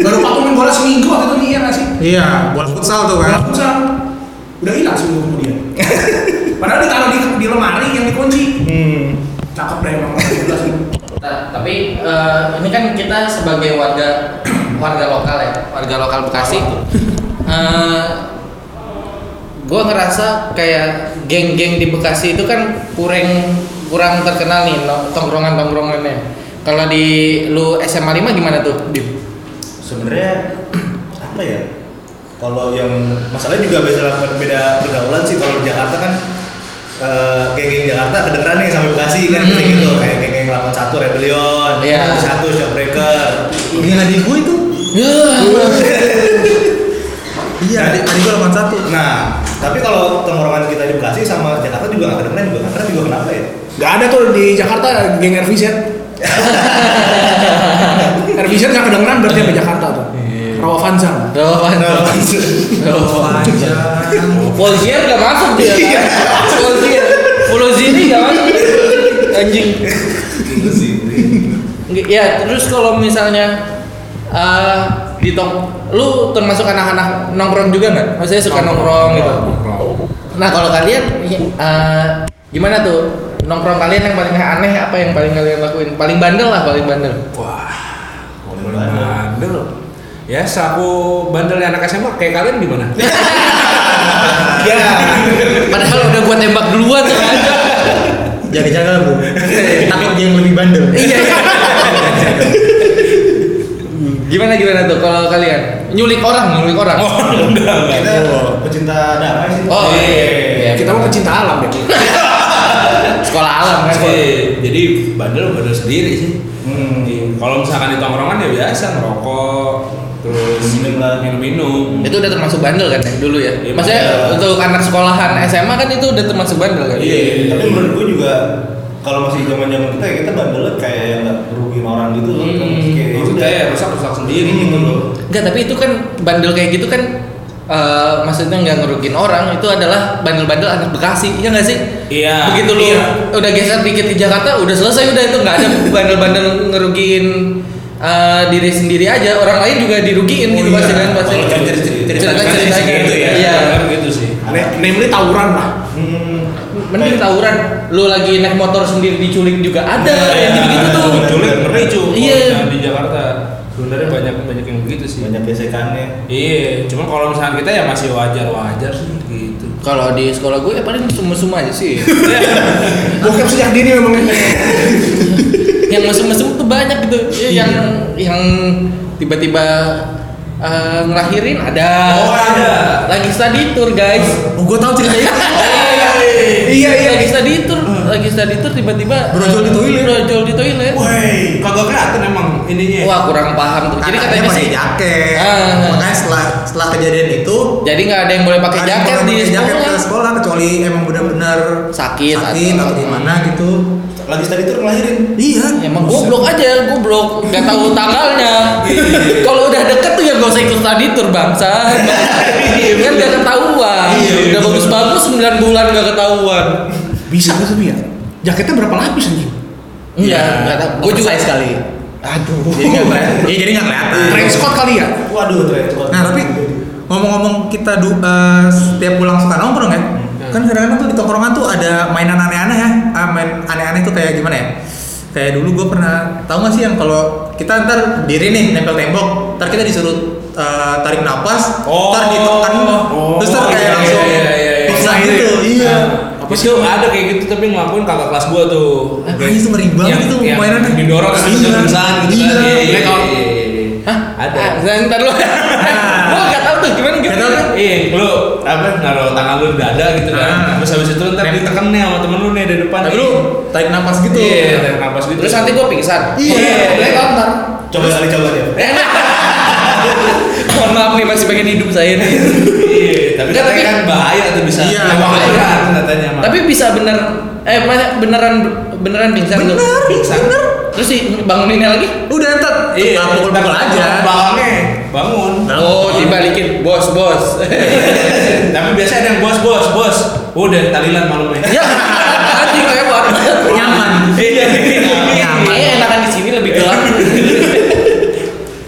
S2: Baru patungan bola seminggu waktu itu nih iya nggak sih?
S3: Iya, bola futsal tuh
S2: Bola
S3: kan.
S2: futsal udah hilang seminggu kemudian. Padahal ditaruh di, di lemari yang dikunci.
S7: Hmm.
S2: Cakep deh emang. Jelas nih.
S1: Nah, tapi eh, ini kan kita sebagai warga warga lokal ya, warga lokal Bekasi. eh gue ngerasa kayak geng-geng di Bekasi itu kan kurang kurang terkenal nih no- tongkrongan-tongkrongannya. Kalau di lu SMA 5 gimana tuh? Dim?
S5: Sebenarnya (clears throat) apa ya? Kalau yang masalahnya juga beda beda pergaulan sih kalau di Jakarta kan eh, geng-geng Jakarta kedengeran nih sampai Bekasi kan
S1: Hmm.
S5: kayak gitu kayak geng-geng 81 Rebellion,
S1: Iya.
S5: satu Shockbreaker.
S3: Ini adik gue itu. Iya, adik, adik gue 81.
S5: Nah, tapi kalau tongkrongan kita di Bekasi sama Jakarta juga nggak kedengeran juga nggak juga kenapa ya?
S7: Gak ada tuh di Jakarta geng RVZ. RVZ gak kedengeran berarti apa Jakarta tuh.
S1: Iya.
S7: Rawa Fanzang.
S1: Rowan. Polisier gak masuk dia. kan? Polisier. Polisier gak masuk. Anjing. Nge- Ya terus kalau misalnya eh di tong, lu termasuk anak-anak nongkrong juga nggak? Maksudnya suka nongkrong, gitu. Nah kalau kalian eh, gimana tuh nongkrong kalian yang paling aneh apa yang paling kalian lakuin? Paling bandel lah, paling bandel.
S6: Wah, boleh bandel Ya, selaku bandelnya anak SMA, kayak kalian (laughs) gimana?
S1: Padahal udah gua tembak duluan kan. sengaja.
S3: Jaga-jaga bro. Takut dia yang lebih bandel.
S1: Iya. iya. gimana gimana tuh kalau kalian nyulik orang, nyulik orang. Oh,
S5: Kita pecinta damai sih.
S1: iya. iya.
S7: Kita mau pecinta alam ya. deh.
S1: sekolah alam kan.
S6: Iya, jadi bandel bandel sendiri sih. Iya. Kalau misalkan di tongkrongan ya biasa ngerokok, terus
S5: Minum lah.
S6: minum-minum.
S1: Itu udah termasuk bandel kan ya dulu ya.
S6: Iya,
S1: Maksudnya
S5: bandel.
S1: untuk anak sekolahan SMA kan itu udah termasuk bandel kan.
S6: Iya.
S5: Tapi menurut gue juga kalau masih zaman zaman kita ya kita bandel kayak yang nggak rugiin orang gitu loh.
S1: Hmm.
S5: Kayak ya
S6: Itu
S5: udah.
S6: kayak rusak-rusak sendiri
S5: Hmm.
S6: gitu loh.
S1: Enggak, tapi itu kan bandel kayak gitu kan eh, maksudnya nggak ngerugin orang itu adalah bandel-bandel anak Bekasi ya nggak sih
S6: Iya.
S1: begitu lu
S6: Iya.
S1: udah geser dikit di Jakarta udah selesai udah itu nggak ada bandel-bandel ngerugiin eh, diri sendiri aja orang lain juga dirugiin gitu pasti kan pasti
S5: Kalau cerita-
S6: Iya,
S5: cerita-
S1: cerita
S5: cerita gitu ya.
S1: iya
S6: Kan gitu sih.
S7: Na- Namely tawuran lah.
S5: Hmm.
S1: mending tawuran lu lagi naik motor sendiri diculik juga ada yang gitu tuh
S6: Iya, Culik ngeri cu. Kalau
S1: Iya.
S6: misalkan di Jakarta sebenarnya banyak banyak yang begitu sih.
S5: banyak gesekannya.
S6: Iya, cuman kalau misalkan kita ya masih wajar-wajar sih gitu.
S1: kalau di sekolah gue ya paling mesum-mesum aja sih
S3: Iya,
S7: Bokep sejak dini memang ini.
S1: yang mesum-mesum tuh banyak gitu Ya,
S3: Iya,
S1: yang yang tiba-tiba eh, ngelahirin ada
S6: Oh, ada.
S1: lagi study tour guys
S3: Oh, gue tahu cerita itu.
S1: iya iya lagi study tour lagi study tour tiba-tiba
S3: Brojol Hmm. di toilet.
S1: brojol di toilet
S6: Woi, kagak kelihatan emang ininya.
S3: ya?
S1: wah kurang paham tuh jadi
S3: Anaknya
S1: katanya
S3: pakai
S1: sih
S3: jaket.
S1: Ah.
S3: Makanya setelah setelah kejadian itu
S1: jadi nggak ada yang boleh pakai
S3: ada yang
S1: jaket
S3: orang
S1: di
S3: pakai jaket
S1: sekolah
S3: ke sekolah kecuali emang benar-benar
S1: sakit,
S3: sakit atau gimana gitu.
S5: Lagi tadi tuh ngelahirin.
S3: Iya.
S1: Ya, Emang goblok aja, goblok, nggak tahu tanggalnya. Kalau udah deket tuh ya gak usah ikut study tour bangsa. kan gak ketahuan. udah bagus-bagus 9 bulan gak ketahuan.
S7: Bisa gak sih ya? Jaketnya berapa lapis anjing?
S1: Iya, nggak tahu. Gue juga sekali.
S7: Aduh.
S3: Jadi nggak kelihatan. Iya, jadi nggak kelihatan.
S7: Transport kali ya?
S5: Waduh, ternyata.
S3: Nah tapi ngomong-ngomong kita du- eh, setiap pulang suka nongkrong ya,
S6: Hmm.
S3: kan kadang-kadang tuh di tongkrongan tuh ada mainan aneh-aneh ya, ah, main aneh-aneh tuh kayak gimana ya? Kayak dulu gue pernah tahu nggak sih yang kalau kita ntar diri nih nempel tembok, ntar kita disuruh eh, tarik napas,
S6: Oh.
S3: ntar ditekan,
S6: Oh,
S3: terus ntar kayak
S6: iya,
S3: langsung
S6: iya, iya, iya.
S3: pingsan
S6: Iya.
S3: gitu, iya.
S6: Nah, apa sih? Itu ada kayak gitu tapi ngelakuin kakak kelas gua tuh.
S3: Ah, itu ngeri banget itu mainannya.
S6: Didorong terus
S3: Iya.
S6: pingsan gitu kan.
S3: Iya.
S6: Iya. iya,
S3: Mereka-
S6: iya, iya.
S1: Hah?
S6: Ada.
S1: Ah, Enggak, ntar lu. Eh, Gua enggak tahu tuh gimana gitu.
S3: Nggak tahu tuh.
S6: Iya, lu apa naruh tangan lu di dada gitu
S3: Ah.
S6: kan. Terus habis itu ntar
S3: Nempel.
S6: ditekan nih sama temen lu nih di depan.
S3: Tapi
S6: nih.
S3: lu tarik napas gitu.
S6: Iya, tarik nafas gitu.
S1: Terus nanti gua pingsan.
S3: Iya.
S1: Boleh kan ntar?
S5: Coba kali coba dia.
S1: Mohon maaf nih masih pengen hidup saya nih.
S6: Iya, tapi
S1: Nggak,
S6: katanya
S1: tapi-
S6: kan bahaya tuh bisa.
S3: Iya,
S6: Emang
S3: bahaya.
S6: bahaya kan katanya. Mak.
S1: Tapi bisa bener eh masa beneran beneran pingsan tuh.
S3: Bener, bener.
S1: Terus sih banguninnya lagi.
S3: Udah ntar
S6: Iya,
S3: ntar pukul-pukul
S6: ntar
S3: aja.
S6: Belakangnya bangun.
S1: Oh, dibalikin bos, bos.
S6: Tapi biasanya ada yang bos, bos, bos. Udah talilan malamnya.
S1: Ya, anjing lewat.
S3: Nyaman.
S6: Iya,
S3: Nyaman.
S1: Kayaknya Iya, enakan di sini lebih gelap.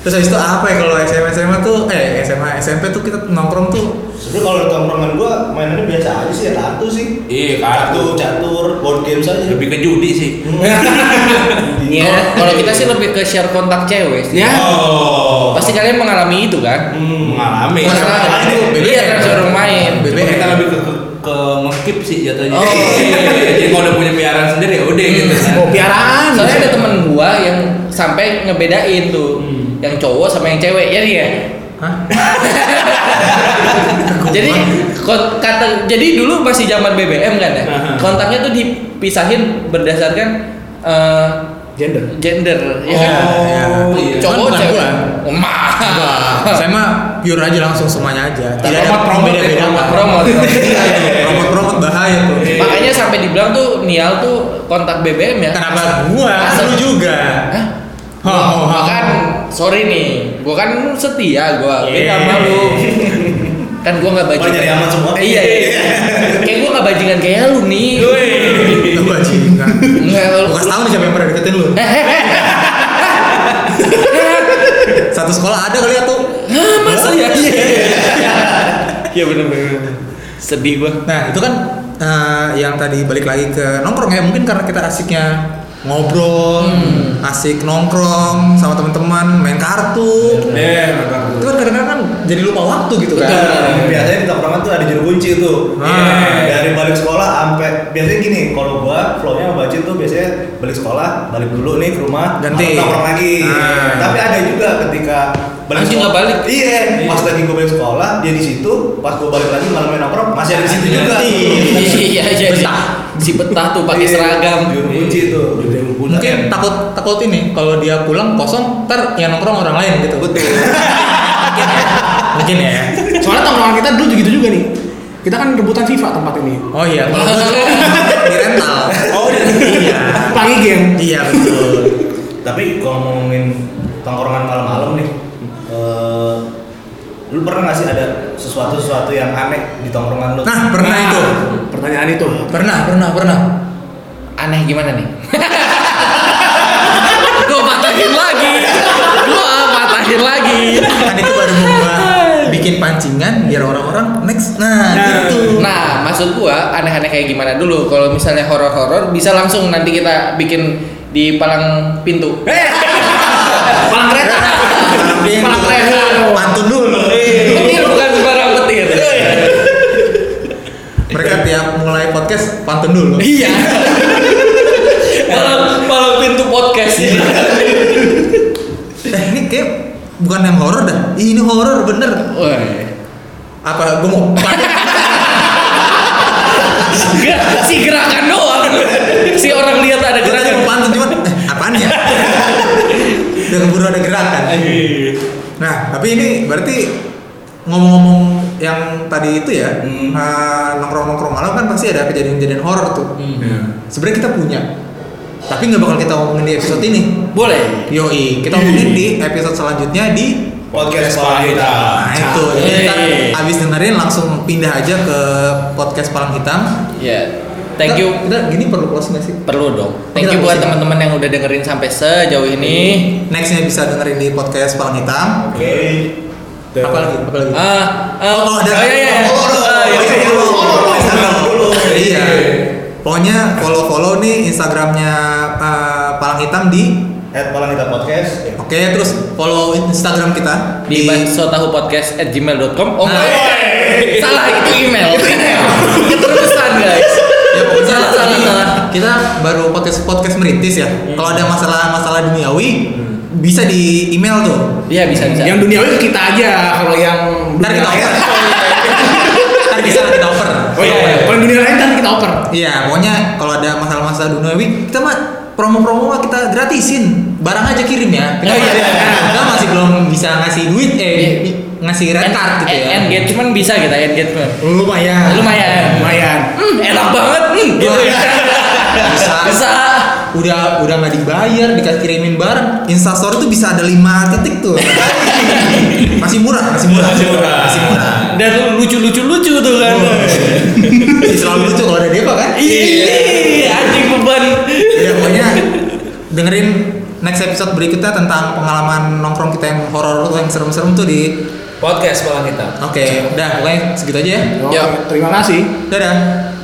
S3: Terus habis itu apa ya kalau SMA SMA tuh eh SMA SMP tuh kita nongkrong tuh
S5: Sebenernya kalau di tongkrongan gua mainannya biasa aja sih, ya kartu sih.
S6: Iya, kartu.
S5: Kartu, catur, board games aja.
S6: Lebih ke judi sih.
S1: Iya, kalau kita sih lebih ke share kontak cewek sih.
S2: Ya.
S6: Oh,
S1: Pasti kalian mengalami itu kan?
S6: mengalami.
S3: Mas-
S1: Masalah
S3: main
S1: itu.
S3: BBM.
S1: Iya, kan suruh main.
S6: Cuma
S3: BBM.
S6: kita lebih
S3: (laughs)
S6: ke ke, ke ngekip sih jatuhnya.
S1: Oh.
S6: Iya, Jadi kalau udah punya piaraan sendiri ya udah gitu kan.
S2: Oh, piaraan.
S1: Soalnya ada temen gua yang sampai ngebedain tuh yang cowok sama yang cewek ya dia.
S3: Hah?
S1: (laughs) Jadi kon- kata jadi dulu masih zaman BBM kan ya.
S6: Aha.
S1: Kontaknya tuh dipisahin berdasarkan eh,
S2: Gender.
S1: gender ya kan.
S3: Oh, iya. Cuman
S1: Cowok
S3: bukan
S1: cewek.
S3: gua.
S1: Emah.
S3: Saya mah pure aja langsung semuanya aja. Tidak ada
S6: Promot, promot,
S1: ya,
S3: beda-beda. Iya.
S6: promot,
S1: Promot.
S3: Promot-promot bahaya tuh.
S1: Makanya sampai dibilang tuh Nial tuh kontak BBM ya.
S3: Kenapa gua?
S1: Asal-
S3: Lu juga.
S1: Hah?
S3: Ho, ho, ho.
S1: Gua kan sorry nih, gua kan setia
S3: Iya.
S1: gua, beda sama
S3: Yeah.
S1: lu. Kan gua nggak
S5: Oh, nyari
S1: bajingan.
S5: aman semua.
S1: Eh, Iya, iya. Kayak gua nggak bajingan kayak lu nih.
S3: Lu
S1: (laughs)
S3: bajingan.
S1: Enggak lu. Iya,
S3: Lu kasih tau nih siapa yang pernah deketin lu. Satu sekolah ada kali ya tuh.
S1: Eh? Hah, masa ya? Iya benar benar. Sedih gua.
S3: Nah itu kan eh, yang tadi balik lagi ke nongkrong ya mungkin karena kita asiknya ngobrol, asik nongkrong sama teman-teman, main kartu.
S6: Eh, nonton.
S3: Itu kan kadang-kadang kan jadi lupa waktu gitu kan.
S5: Nah, biasanya di tongkrongan tuh ada juru kunci tuh.
S3: Ah.
S5: Iya. Dari balik sekolah sampai biasanya gini, kalau gua flow-nya sama Bacin tuh biasanya balik sekolah, balik dulu nih ke rumah,
S3: Ganti.
S5: langsung nongkrong lagi.
S3: Ah.
S5: Tapi ada juga ketika balik
S1: Anjing
S5: sekolah-
S1: nggak balik.
S5: Iya, pas lagi gua balik sekolah, dia di situ, pas gua balik lagi malam main nongkrong, masih ada di situ juga.
S1: Iya, iya, iya. Si betah tuh pakai
S5: Iya,
S1: seragam.
S5: Juru
S3: Iya.
S5: kunci tuh.
S3: Mungkin takut takut ini kalau dia pulang kosong ntar yang nongkrong orang lain gitu. Betul. mungkin ya.
S2: Soalnya tongkrongan kita dulu gitu juga nih. Kita kan rebutan FIFA tempat ini.
S3: Oh iya. kalau gua Di rental. Oh iya.
S2: Pagi game.
S3: Iya betul.
S5: Tapi kalau ngomongin tongkrongan malam-malam nih, eh, lu pernah nggak sih ada sesuatu sesuatu yang aneh di tongkrongan lu?
S3: Nah pernah itu.
S2: Pertanyaan itu.
S3: Pernah pernah pernah.
S1: aneh gimana nih? (laughs) gua patahin lagi. Gua patahin lagi.
S3: kan itu baru gua bikin pancingan biar orang-orang next nah, gitu
S1: Nah, maksud gua aneh-aneh kayak gimana dulu. Kalau misalnya horor-horor bisa langsung nanti kita bikin di palang pintu. Eh! palang kereta.
S3: Yang "Oh,
S1: palang kereta.
S3: pantun dulu
S1: Petir bukan sembarang petir.
S3: mereka tiap mulai podcast pantun dulu
S1: Iya. palang palang pintu podcast ya.
S3: eh ini kayak bukan yang horor dah Ih, ini horor bener apa gua mau
S1: si gerakan doang. si orang lihat ada
S3: kita
S1: gerakan.
S3: mau pantun cuman eh apaan ya udah keburu ada gerakan nah tapi ini berarti ngomong-ngomong yang tadi itu ya
S1: Hmm.
S3: eh, nongkrong-nongkrong malam kan pasti ada kejadian-kejadian horor tuh
S1: Hmm.
S3: sebenarnya kita punya tapi nggak bakal kita omongin di episode ini
S1: Boleh.
S3: yoi kita omongin di episode selanjutnya di
S5: podcast sekolah kita.
S3: nah itu
S1: Ah,
S3: jadi kita
S1: Yeay.
S3: abis dengerin langsung pindah aja ke podcast Palang Hitam
S1: Ya. Thank you.
S3: Kita- kita gini perlu close nggak sih
S1: Perlu dong. Thank
S3: Kita kan?
S1: you buat
S3: pusing.
S1: teman-teman yang udah dengerin sampai sejauh ini.
S3: nextnya bisa dengerin di podcast Palang Hitam
S5: Oke.
S3: apa lagi apa lagi
S1: Ah, ah,
S3: Iya. Oh, ada.
S1: oh, iya, iya.
S3: Oh, oh,
S1: Ah, iya,
S3: oh,
S1: iya.
S3: oh, oh, oh, oh,
S5: Instagram dulu.
S3: Iya. Pokoknya follow-follow nih Instagramnya eh, Palang Hitam di
S5: At Palang Hitam Podcast.
S3: Oke, terus follow Instagram kita Nah,
S1: di Oh,
S3: Ah,
S1: (laughs)
S3: iya,
S1: bansotahupodcast@gmail.com. Oh, enggak. salah itu email. Keterusan guys.
S3: ya pokoknya
S1: Salah, salah,
S3: ini
S1: salah. Iya.
S3: kita baru podcast podcast merintis ya kalau ada masalah masalah duniawi
S1: Hmm.
S3: bisa di email tuh
S1: Iya bisa bisa.
S2: Yang duniawi ke kita aja kalau yang
S3: ntar kita
S1: Iya.
S2: dunia-
S3: over ntar bisa kita over
S1: (laughs)
S2: Oh iya, iya. kalau yang dunia lain kan kita oper.
S3: iya pokoknya kalau ada masalah-masalah duniawi kita mah promo-promo mah kita gratisin barang aja kirim ya kita,
S1: Oh, iya, iya.
S3: kita masih belum bisa ngasih duit eh
S1: Iya.
S3: ngasih red card gitu ya Ah.
S1: Engagement bisa gitu, kita engagement.
S3: lumayan Iya.
S1: Lumayan.
S2: Lumayan.
S1: Hmm, enak banget nih gitu ya.
S3: bisa
S1: Bisa.
S3: udah udah nggak dibayar dikirimin barang instastory tuh bisa ada lima titik
S1: (laughs)
S3: tuh masih murah masih murah masih murah masih murah
S1: Dan lucu-lucu lucu tuh kan.
S3: Hmm. Masih selalu lucu kalau ada Deva kan
S1: Iya. Ih, anjing beban.
S3: ya pokoknya dengerin next episode berikutnya tentang pengalaman nongkrong kita yang horor tuh yang serem-serem tuh di
S8: Podcast malah kita.
S3: oke udah pokoknya segitu aja ya
S2: Oh, Terima kasih.
S3: dadah